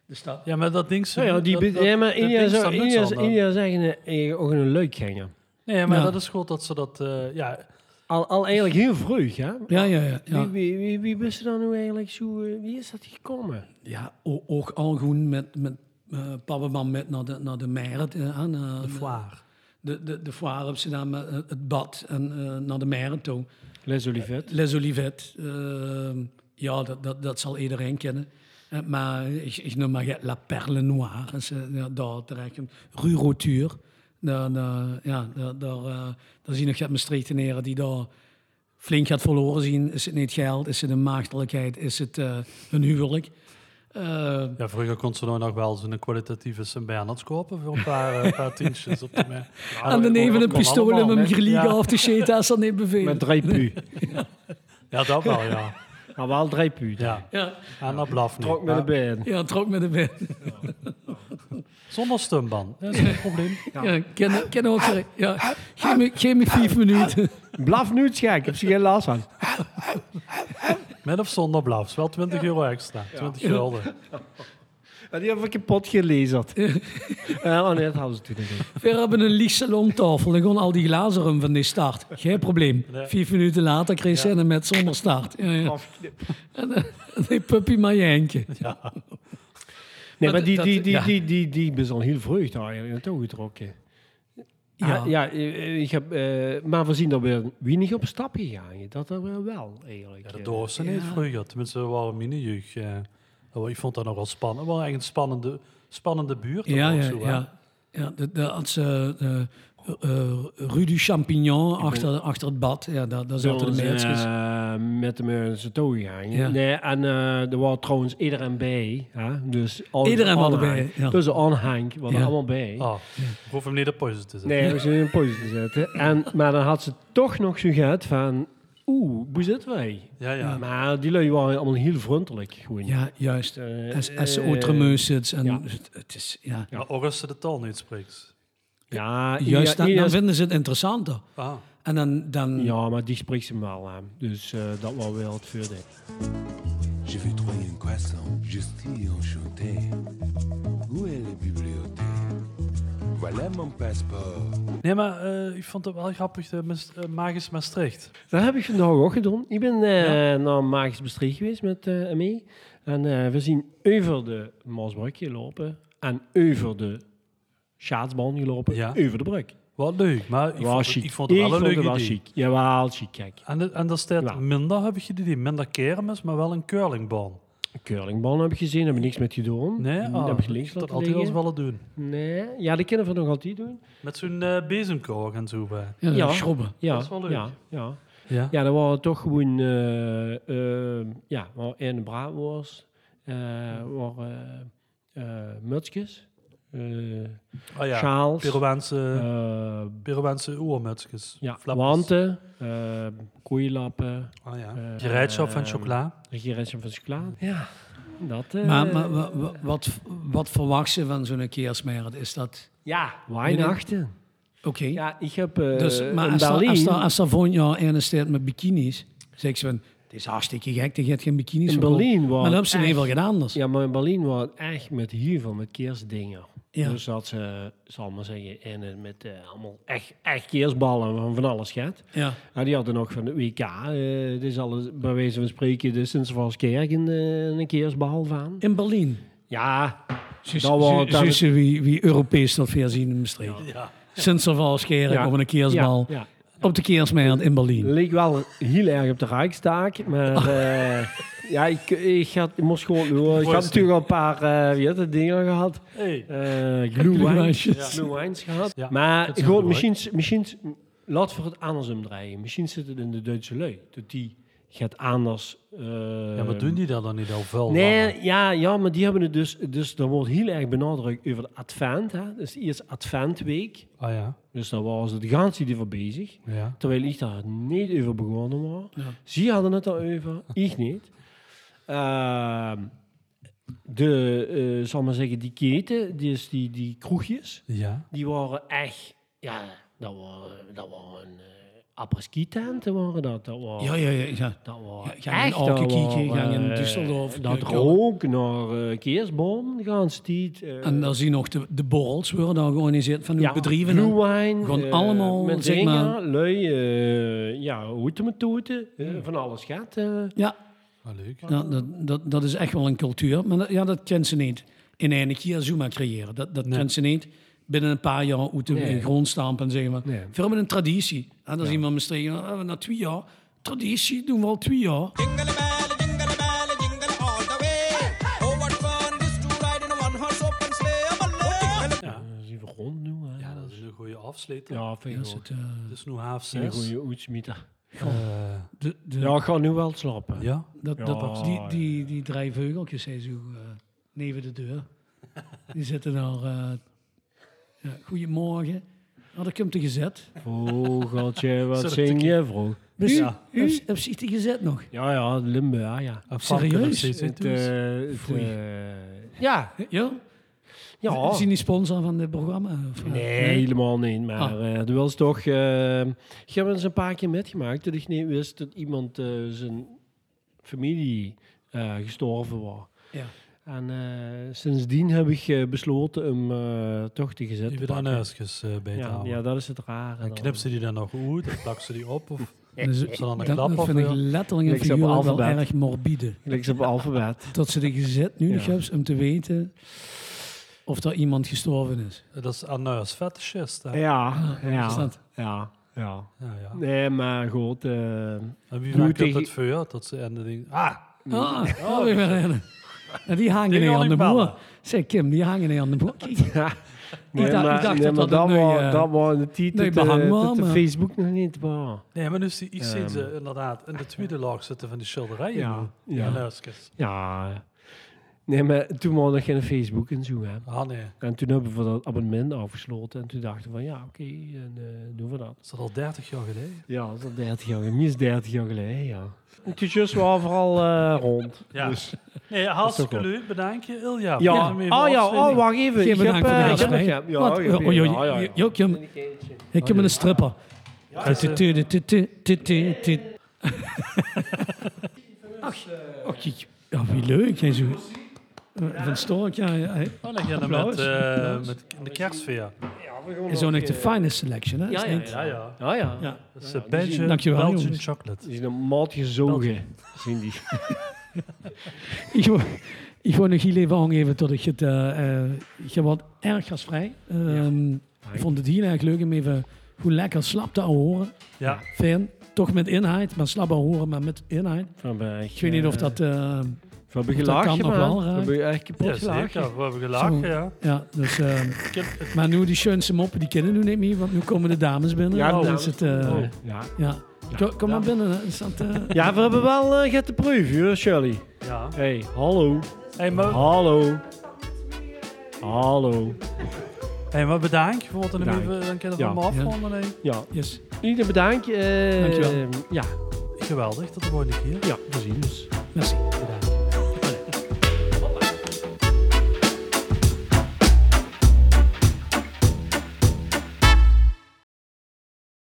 [SPEAKER 2] de stad.
[SPEAKER 3] Ja, maar dat ding...
[SPEAKER 1] Nou ja, die, be- ja, maar India zou- India is India zeggen ook een leuk ganger.
[SPEAKER 3] Nee, maar
[SPEAKER 2] Ja.
[SPEAKER 3] dat is goed dat ze dat... eh, ja,
[SPEAKER 1] Al, al eigenlijk heel vroeg, hè?
[SPEAKER 2] Ja, ja, ja.
[SPEAKER 1] Wie,
[SPEAKER 2] ja.
[SPEAKER 1] wie, wie, wie wist er dan hoe eigenlijk zo... eh, Wie is dat gekomen?
[SPEAKER 2] ja o- ook al groen met, met eh Pabbeman met naar de, naar de Meijer. eh, aan, eh,
[SPEAKER 3] de foire.
[SPEAKER 2] De, de, de foire op Amsterdam, eh, het bad en eh, naar de Meijer toe.
[SPEAKER 1] Les Olivet.
[SPEAKER 2] Les Olivet, ehm, ja, dat, dat, dat zal iedereen kennen. Eh, maar ik, ik noem maar ja, La Perle Noire, als je ja, daar terechtkomt. Rue Rotuur, daar, daar, ja, daar, daar, eh, daar zie je nog ja, Maastrichtenaren die daar flink gaat verloren zien. Is het niet geld, is het een maagdelijkheid, is het eh, een huwelijk? Eh,
[SPEAKER 3] Ja, vroeger kon ze nou nog wel zo'n kwalitatieve St. Bernards kopen voor een paar, een
[SPEAKER 1] (laughs)
[SPEAKER 3] paar tientjes op de me.
[SPEAKER 2] en dan even een pistool in mijn griliegen
[SPEAKER 3] ja.
[SPEAKER 2] af te scheten als dat niet bevelen.
[SPEAKER 1] Met Dreipu.
[SPEAKER 3] ja,
[SPEAKER 1] (laughs)
[SPEAKER 3] dat wel, ja.
[SPEAKER 1] Maar Ah, wel Dreipu.
[SPEAKER 3] ja.
[SPEAKER 2] Ja,
[SPEAKER 3] En dat blaf niet.
[SPEAKER 1] Trok met de
[SPEAKER 3] Maar
[SPEAKER 1] been.
[SPEAKER 2] ja, trok met de bed.
[SPEAKER 3] Zonder stumban. Dat is geen probleem.
[SPEAKER 2] Ja, ken, ken ook. eh, Ja, geef me, geef me vijf minuten.
[SPEAKER 1] Blaf nu het gek, ik heb ze geen last van.
[SPEAKER 3] Met of zonder blafs. Wel 20 euro extra. 20 gulden.
[SPEAKER 1] Maar die heb ik kapot gelezerd. Eh, oh nee, dat hadden ze toen niet.
[SPEAKER 2] We hebben een lief salontafel. Dan gewoon al die glazen rum van die start. Geen probleem.
[SPEAKER 3] Nee.
[SPEAKER 2] Vijf minuten later kreeg ze een met zonder start. Ja, ja. En, eh, die puppy maar Jenkje.
[SPEAKER 1] Nee, maar
[SPEAKER 2] dat-
[SPEAKER 1] die,
[SPEAKER 2] dat-
[SPEAKER 1] die, die,
[SPEAKER 2] ja.
[SPEAKER 1] die, die, die is al heel vreugd eigenlijk naartoe getrokken.
[SPEAKER 2] Ja.
[SPEAKER 1] Ja, ja eh, ik heb, eh, maar we zien dat we weinig op stap gegaan. is. Dat er wel, eigenlijk.
[SPEAKER 3] Ja,
[SPEAKER 1] eh.
[SPEAKER 3] dat dorst ze niet
[SPEAKER 2] Ja.
[SPEAKER 3] vroeger. Tenminste, we waren mini-jeugd. Oh, ik vond dat nogal spannend. We waren echt een spannende, spannende buurt. dat
[SPEAKER 2] Ja,
[SPEAKER 3] ook
[SPEAKER 2] ja,
[SPEAKER 3] zo, hè.
[SPEAKER 2] ja. ja de, de, als, eh, eh, eh, Rue du Champignon achter, achter het bad. Ja, daar, daar zaten de
[SPEAKER 1] Zullen ze,
[SPEAKER 2] meisjes.
[SPEAKER 1] eh, met hem eh, ze toe gegaan.
[SPEAKER 2] Ja.
[SPEAKER 1] Nee, en eh, er was trouwens iedereen bij. Hè? Dus al-
[SPEAKER 2] Iedereen was
[SPEAKER 1] aanhang.
[SPEAKER 2] erbij, ja.
[SPEAKER 1] Dus de aanhang was
[SPEAKER 2] Ja.
[SPEAKER 1] er allemaal bij.
[SPEAKER 3] Ah, ik hoef hem niet op pauze te zetten.
[SPEAKER 1] Nee, we zijn in een positie zetten. En, maar dan had ze toch nog zo gehad van... Oeh, hoe zitten wij?
[SPEAKER 3] Ja, ja.
[SPEAKER 1] Maar die lui waren allemaal heel vriendelijk. Gewoon.
[SPEAKER 2] Ja, juist.
[SPEAKER 1] Eh,
[SPEAKER 2] Als, als ze
[SPEAKER 1] eh,
[SPEAKER 2] outremeus zit. En
[SPEAKER 1] ja.
[SPEAKER 2] het, het is, ja.
[SPEAKER 3] Maar ook als ze de taal niet spreekt.
[SPEAKER 1] Ja,
[SPEAKER 2] Juist, nou,
[SPEAKER 1] ja,
[SPEAKER 2] dan,
[SPEAKER 1] ja,
[SPEAKER 2] dan vinden ze het interessanter.
[SPEAKER 3] Ah.
[SPEAKER 2] En dan... dan
[SPEAKER 1] ja, maar die spreekt ze wel aan. Dus eh, dat was wel het voordeel.
[SPEAKER 7] J'ai vu trouver un croissant, je suis enchanté. Où est la bibliothèque Voilà mon passeport.
[SPEAKER 3] Nee, maar eh, ik vond het wel grappig, de Maas- eh, Magisch Maastricht.
[SPEAKER 1] Dat heb ik vandaag ook gedaan. Ik ben eh, naar Magisch Bestricht geweest met eh Amie. En eh, we zien over de Maasbrugje lopen. En over de schaatsbaan gelopen.
[SPEAKER 3] Ja.
[SPEAKER 1] Over de brug.
[SPEAKER 3] Wat leuk, maar ik,
[SPEAKER 1] was
[SPEAKER 3] vond het,
[SPEAKER 1] chic.
[SPEAKER 3] ik vond het wel een leuk
[SPEAKER 1] het wel
[SPEAKER 3] idee.
[SPEAKER 1] chic. Jawel, chic. Kijk,
[SPEAKER 3] En, de- en daar staat
[SPEAKER 1] Ja.
[SPEAKER 3] minder, heb ik het idee, minder kermis, maar wel een curlingbaan.
[SPEAKER 1] een curlingbal heb ik gezien. Heb ik niks met gedaan.
[SPEAKER 3] Nee?
[SPEAKER 1] Hm,
[SPEAKER 3] Ah,
[SPEAKER 1] heb ik
[SPEAKER 3] ik
[SPEAKER 1] links
[SPEAKER 3] heb dat
[SPEAKER 1] laten
[SPEAKER 3] altijd wel
[SPEAKER 1] liggen.
[SPEAKER 3] eens willen doen.
[SPEAKER 1] Nee. Ja, die kunnen we nog altijd doen.
[SPEAKER 3] Met zo'n eh bezemkorg en zo. bij.
[SPEAKER 2] ja,
[SPEAKER 1] Ja.
[SPEAKER 2] schrobben.
[SPEAKER 1] Ja,
[SPEAKER 3] Dat is wel leuk.
[SPEAKER 1] Ja, ja.
[SPEAKER 3] Ja.
[SPEAKER 1] Ja, dat waren toch gewoon... eh, eh, ja, waar een braadworst, eh waar eh, eh, mutsjes, eh,
[SPEAKER 3] Ah ja,
[SPEAKER 1] sjaals,
[SPEAKER 3] Peruaanse,
[SPEAKER 1] eh,
[SPEAKER 3] Peruaanse oermutsjes.
[SPEAKER 1] ja,
[SPEAKER 3] flappers.
[SPEAKER 1] wanten, eh koeienlappen,
[SPEAKER 3] Ah ja.
[SPEAKER 1] eh,
[SPEAKER 3] Gereedschap van
[SPEAKER 1] ehm,
[SPEAKER 3] chocola.
[SPEAKER 1] regierensje van chocolade. Ja, dat... eh,
[SPEAKER 2] Maar, maar wa- wa- wat, wat verwacht ze van zo'n keersmeerd? Is dat
[SPEAKER 1] ja, Weihnachten.
[SPEAKER 2] oké?
[SPEAKER 1] Ja, ik heb eh
[SPEAKER 2] dus, maar
[SPEAKER 1] in
[SPEAKER 2] als daar,
[SPEAKER 1] Berlijn...
[SPEAKER 2] als daar, als daar volgend jaar Ernest staat met bikinis, zeg ze van, het is hartstikke gek, je hebt geen bikinis.
[SPEAKER 1] in
[SPEAKER 2] verkocht."
[SPEAKER 1] Berlijn
[SPEAKER 2] Maar
[SPEAKER 1] was
[SPEAKER 2] dan hebben ze in
[SPEAKER 1] echt-
[SPEAKER 2] ieder geval gedaan anders.
[SPEAKER 1] Ja, maar in Berlijn was het echt met heel veel met kerstdingen.
[SPEAKER 2] Ja.
[SPEAKER 1] Dus dat ze, zal maar zeggen, en eh, met eh, allemaal echt, echt kerstballen van van alles gaat.
[SPEAKER 2] Ja.
[SPEAKER 1] En Nou, die hadden nog van de WK, eh het is alles, bij wijze van spreken, de Sint-Svalskerk een, eh, een kerstbal van.
[SPEAKER 2] In Berlijn.
[SPEAKER 1] Ja,
[SPEAKER 2] Zus-
[SPEAKER 1] Dat wou-
[SPEAKER 2] zus-
[SPEAKER 1] dat-
[SPEAKER 2] Zussen wie, wie Europees dat weer zien in Maastricht.
[SPEAKER 3] Ja.
[SPEAKER 2] Sint-Servalskerk
[SPEAKER 1] Ja.
[SPEAKER 2] op een keersbal.
[SPEAKER 1] Ja,
[SPEAKER 2] Op de keersmeerd in
[SPEAKER 1] ja.
[SPEAKER 2] Berlijn.
[SPEAKER 1] Leek wel heel erg op de Rijkstaak, maar
[SPEAKER 3] (laughs)
[SPEAKER 1] eh, ja, ik, ik, had, ik moest gewoon loeren. Ik had natuurlijk al een paar eh wie heet het, dingen gehad.
[SPEAKER 3] Hey.
[SPEAKER 1] eh glühwein,
[SPEAKER 2] Glühweinjes.
[SPEAKER 1] glühweins gehad.
[SPEAKER 3] Ja,
[SPEAKER 1] maar
[SPEAKER 3] dat is
[SPEAKER 1] gewoon,
[SPEAKER 3] een
[SPEAKER 1] misschien, misschien Laat voor het anders omdraaien. Misschien zit het in de Duitse lui. Dat die gaat anders... eh,
[SPEAKER 3] ja, maar doen die dat dan niet al vuil? dan?
[SPEAKER 1] Ehm. Nee, ja, ja, maar die hebben het dus... Dus er wordt heel erg benadrukt over de advent. Hè. Dus eerst adventweek.
[SPEAKER 3] Ah ja.
[SPEAKER 1] Dus daar waren ze de ganse die voor bezig.
[SPEAKER 3] Ja.
[SPEAKER 1] Terwijl ik daar niet over begonnen was.
[SPEAKER 2] Ja.
[SPEAKER 1] Ze hadden het daarover, ik niet. Ehm, de, eh, zal maar zeggen, die keten, dus die, die kroegjes,
[SPEAKER 3] Ja.
[SPEAKER 1] die waren echt... Ja, dat waren, dat waren eh, apres-ski tenten waren dat. dat waren,
[SPEAKER 2] Ja, ja, ja. ja.
[SPEAKER 1] Dat waren
[SPEAKER 2] Ja, ga in
[SPEAKER 1] echt,
[SPEAKER 2] Alke
[SPEAKER 1] dat
[SPEAKER 2] kieken,
[SPEAKER 1] waren,
[SPEAKER 2] ga in
[SPEAKER 1] eh,
[SPEAKER 2] Düsseldorf,
[SPEAKER 1] Dat
[SPEAKER 2] eh,
[SPEAKER 1] rook naar eh Keersboom, gaan stiet. eh,
[SPEAKER 2] En dan zie je nog de, de borrels worden dan georganiseerd van de
[SPEAKER 1] ja,
[SPEAKER 2] bedrijven.
[SPEAKER 1] Blue wine.
[SPEAKER 2] Gewoon
[SPEAKER 1] eh,
[SPEAKER 2] allemaal,
[SPEAKER 1] met
[SPEAKER 2] zeg
[SPEAKER 1] dingen,
[SPEAKER 2] maar.
[SPEAKER 1] lui, eh, ja, hoeten met toeten. eh, Van alles gaat. eh.
[SPEAKER 2] Ja,
[SPEAKER 3] Ah, leuk.
[SPEAKER 2] ja dat, dat, dat is echt wel een cultuur. Maar dat, ja, dat kent ze niet. In een keer Zuma creëren. Dat, dat kent ze niet. Binnen een paar jaar moeten we
[SPEAKER 1] Nee.
[SPEAKER 2] in grond stampen en zeggen maar.
[SPEAKER 1] Nee.
[SPEAKER 2] Veel met een traditie. En dan zien we misschien, ah, na twee jaar, traditie doen we al twee jaar.
[SPEAKER 10] Jingle bell, jingle bell, jingle all the way. Oh, what fun it is to ride in a one-horse open sleigh. Jingle
[SPEAKER 1] Ja, dat is even rond nu. hè.
[SPEAKER 3] Ja, dat is een goede afsluiter.
[SPEAKER 1] Ja,
[SPEAKER 2] Ja,
[SPEAKER 1] vind
[SPEAKER 2] is
[SPEAKER 1] ik ook.
[SPEAKER 2] het, eh,
[SPEAKER 3] Het is nu half
[SPEAKER 1] Een
[SPEAKER 3] zes.
[SPEAKER 1] goede oetsmieter.
[SPEAKER 3] Eh,
[SPEAKER 2] de, de,
[SPEAKER 1] Ja, ik ga nu wel slapen.
[SPEAKER 3] ja.
[SPEAKER 2] dat,
[SPEAKER 1] Ja,
[SPEAKER 2] dat, die,
[SPEAKER 1] ja.
[SPEAKER 2] die, die drie veugeltjes zijn zo eh, neven de deur. Die zitten daar. eh ja, goedemorgen. Ah, daar komt de gezet. (laughs)
[SPEAKER 1] Vogeltje, wat
[SPEAKER 3] Zullen
[SPEAKER 1] zing
[SPEAKER 3] we-
[SPEAKER 1] je vrouw?
[SPEAKER 2] Dus,
[SPEAKER 3] Ja.
[SPEAKER 2] u, heb- heb je de gezet nog?
[SPEAKER 1] Ja, ja, Limburg, ja.
[SPEAKER 3] Een varken
[SPEAKER 2] serieus?
[SPEAKER 3] dat steeds in
[SPEAKER 1] Het,
[SPEAKER 3] toe is.
[SPEAKER 1] eh, het,
[SPEAKER 2] Foei.
[SPEAKER 1] eh, ja,
[SPEAKER 2] Ja?
[SPEAKER 1] ja.
[SPEAKER 2] Is hij niet sponsor van dit programma? Of, eh,
[SPEAKER 1] Nee, helemaal niet. Maar
[SPEAKER 2] Ah.
[SPEAKER 1] eh er was toch... eh, ik heb eens een paar keer metgemaakt dat ik niet wist dat iemand eh, zijn familie eh, gestorven was.
[SPEAKER 2] Ja.
[SPEAKER 1] En eh, sindsdiem heb ik eh, besloten hem eh, toch te gezet
[SPEAKER 3] Die
[SPEAKER 1] te
[SPEAKER 3] we daar
[SPEAKER 1] pakken.
[SPEAKER 3] neusjes eh, bij te
[SPEAKER 1] ja,
[SPEAKER 3] houden.
[SPEAKER 1] ja, dat is het rare.
[SPEAKER 3] En
[SPEAKER 1] dan.
[SPEAKER 3] knip ze die dan nog uit? Of plak ze die op? Of
[SPEAKER 2] Dus,
[SPEAKER 3] ze dan een
[SPEAKER 2] dat,
[SPEAKER 3] klap
[SPEAKER 2] dat
[SPEAKER 3] of
[SPEAKER 2] vind ik
[SPEAKER 3] wel?
[SPEAKER 2] letterlijk een
[SPEAKER 1] eh, Niks op
[SPEAKER 2] figuur wel
[SPEAKER 1] alfabet.
[SPEAKER 2] erg morbide.
[SPEAKER 1] Niks op alfabet.
[SPEAKER 2] Dat ze de gezet nu nog
[SPEAKER 1] Ja.
[SPEAKER 2] hebben om te weten of er iemand gestorven is.
[SPEAKER 3] dat is een neus fetishist. hè?
[SPEAKER 1] Ja,
[SPEAKER 2] Is
[SPEAKER 1] ja,
[SPEAKER 2] dat?
[SPEAKER 1] ja, ja.
[SPEAKER 3] Ja, ja.
[SPEAKER 1] Nee, maar goed. eh,
[SPEAKER 2] Oh,
[SPEAKER 3] En wie
[SPEAKER 1] Doe
[SPEAKER 3] maakt dat
[SPEAKER 1] tegen-
[SPEAKER 3] het vuur? Dat ze en dan denk ah,
[SPEAKER 2] Ah, daar ben ik
[SPEAKER 1] Oh.
[SPEAKER 2] weer in. En die hangen
[SPEAKER 3] Die
[SPEAKER 2] niet
[SPEAKER 3] wil
[SPEAKER 2] aan de
[SPEAKER 3] ik bellen.
[SPEAKER 2] boer. Zeg Kim, die hangen niet aan de boer.
[SPEAKER 1] (laughs)
[SPEAKER 2] Kijk,
[SPEAKER 1] ja.
[SPEAKER 2] Ik dacht- ik dacht dat dat
[SPEAKER 1] dat
[SPEAKER 2] een
[SPEAKER 1] wa-
[SPEAKER 2] nieuwe-
[SPEAKER 1] dat was de titel
[SPEAKER 2] nieuw
[SPEAKER 1] dat
[SPEAKER 2] behang was,
[SPEAKER 1] dat de
[SPEAKER 2] maar-
[SPEAKER 1] Facebook nog niet was.
[SPEAKER 3] Nee, maar nu zie ik zie
[SPEAKER 1] Ehm.
[SPEAKER 3] ze inderdaad in de tweede laag zitten van die schilderijen.
[SPEAKER 1] Ja,
[SPEAKER 3] nu.
[SPEAKER 1] ja.
[SPEAKER 3] Ja, neusjes.
[SPEAKER 1] Ja. Nee, maar toen was nog geen Facebook en zo. Hè.
[SPEAKER 3] Ah nee,
[SPEAKER 1] En toen hebben we dat abonnement afgesloten. En toen dachten we van, ja, oké, dan eh, doen we dat.
[SPEAKER 3] is dat al 30 jaar geleden?
[SPEAKER 1] Ja, dat is al 30 jaar geleden. Minstens 30 jaar geleden, ja. En toen was we vooral eh, rond.
[SPEAKER 3] Ja.
[SPEAKER 1] Dus,
[SPEAKER 3] Nee,
[SPEAKER 1] ook
[SPEAKER 3] hartstikke
[SPEAKER 1] wel.
[SPEAKER 3] leuk, bedankt je, Ilja.
[SPEAKER 1] ja.
[SPEAKER 3] Voor deze
[SPEAKER 1] Oh ja,
[SPEAKER 3] afzending.
[SPEAKER 1] oh, wacht even.
[SPEAKER 2] Geen
[SPEAKER 1] Ik heb,
[SPEAKER 2] bedankt voor de
[SPEAKER 1] eh, ik heb nog-
[SPEAKER 2] gastvrijheid.
[SPEAKER 1] ja, ja,
[SPEAKER 2] Wat?
[SPEAKER 1] ik heb-
[SPEAKER 2] Oh, joh,
[SPEAKER 1] ja, ja, ja.
[SPEAKER 2] joh, joh, Kim. Ik heb een stripper. Tu- tu- tu- tu- tu- tu- tu- tu. Ach, och, jeetje. Oh, ja, wie leuk. Jij zo. eh, Van Stork, ja. ja, hè.
[SPEAKER 3] Oh, dan gaan we
[SPEAKER 2] Applaus.
[SPEAKER 3] met, eh met de kerstfeer.
[SPEAKER 2] Is ook nog de finest selection, hè?
[SPEAKER 1] Ja,
[SPEAKER 2] is
[SPEAKER 1] ja,
[SPEAKER 2] niet-
[SPEAKER 3] Ja, ja.
[SPEAKER 1] Ja, ja.
[SPEAKER 2] ja.
[SPEAKER 3] Dat is eh, Belgian,
[SPEAKER 2] Dankjewel,
[SPEAKER 3] Belgian
[SPEAKER 2] jongens.
[SPEAKER 3] chocolate.
[SPEAKER 1] Die is een maatje zogen, zien die.
[SPEAKER 2] Ik wou- Ik wou nog heel even aangeven dat ik het... eh, eh, ik heb wat erg gasvrij. Ehm, Ik vond het heel erg leuk om even hoe lekker slap te horen.
[SPEAKER 3] Ja,
[SPEAKER 2] Fijn. Toch met inheid, maar slap horen, maar met inheid.
[SPEAKER 1] Van bij,
[SPEAKER 2] Ik weet niet of dat... eh,
[SPEAKER 1] Van bij
[SPEAKER 2] of dat kan
[SPEAKER 1] gelaagje, man.
[SPEAKER 2] nog wel eh.
[SPEAKER 1] Van
[SPEAKER 2] raak.
[SPEAKER 1] bij echt kapot
[SPEAKER 3] ja
[SPEAKER 1] gelaagje.
[SPEAKER 3] zeker. We hebben gelachen,
[SPEAKER 2] Zo.
[SPEAKER 3] ja.
[SPEAKER 2] ja, dus... ehm,
[SPEAKER 3] Ik heb-
[SPEAKER 2] maar nu die schoonste moppen, die kennen nu niet meer, want nu komen de dames binnen.
[SPEAKER 1] Ja,
[SPEAKER 2] Nou
[SPEAKER 1] de
[SPEAKER 2] is het... eh,
[SPEAKER 1] Oh, Ja.
[SPEAKER 2] Ja. Kom, kom maar binnen. hè. Is dat, eh,
[SPEAKER 1] Ja, we hebben wel eh, get de proef, hoor, Shirley.
[SPEAKER 3] Ja.
[SPEAKER 1] hey, hallo.
[SPEAKER 3] Hey, maar,
[SPEAKER 1] Hallo. Hallo.
[SPEAKER 3] hey, maar bedankt. We moeten hem
[SPEAKER 1] Bedankt.
[SPEAKER 3] even een keer
[SPEAKER 1] Ja.
[SPEAKER 3] van me afronden. hè.
[SPEAKER 1] Ja,
[SPEAKER 2] yes.
[SPEAKER 1] iedereen bedankt. eh,
[SPEAKER 2] Dankjewel.
[SPEAKER 1] Ja,
[SPEAKER 3] Geweldig, tot de volgende keer.
[SPEAKER 1] ja, we zien.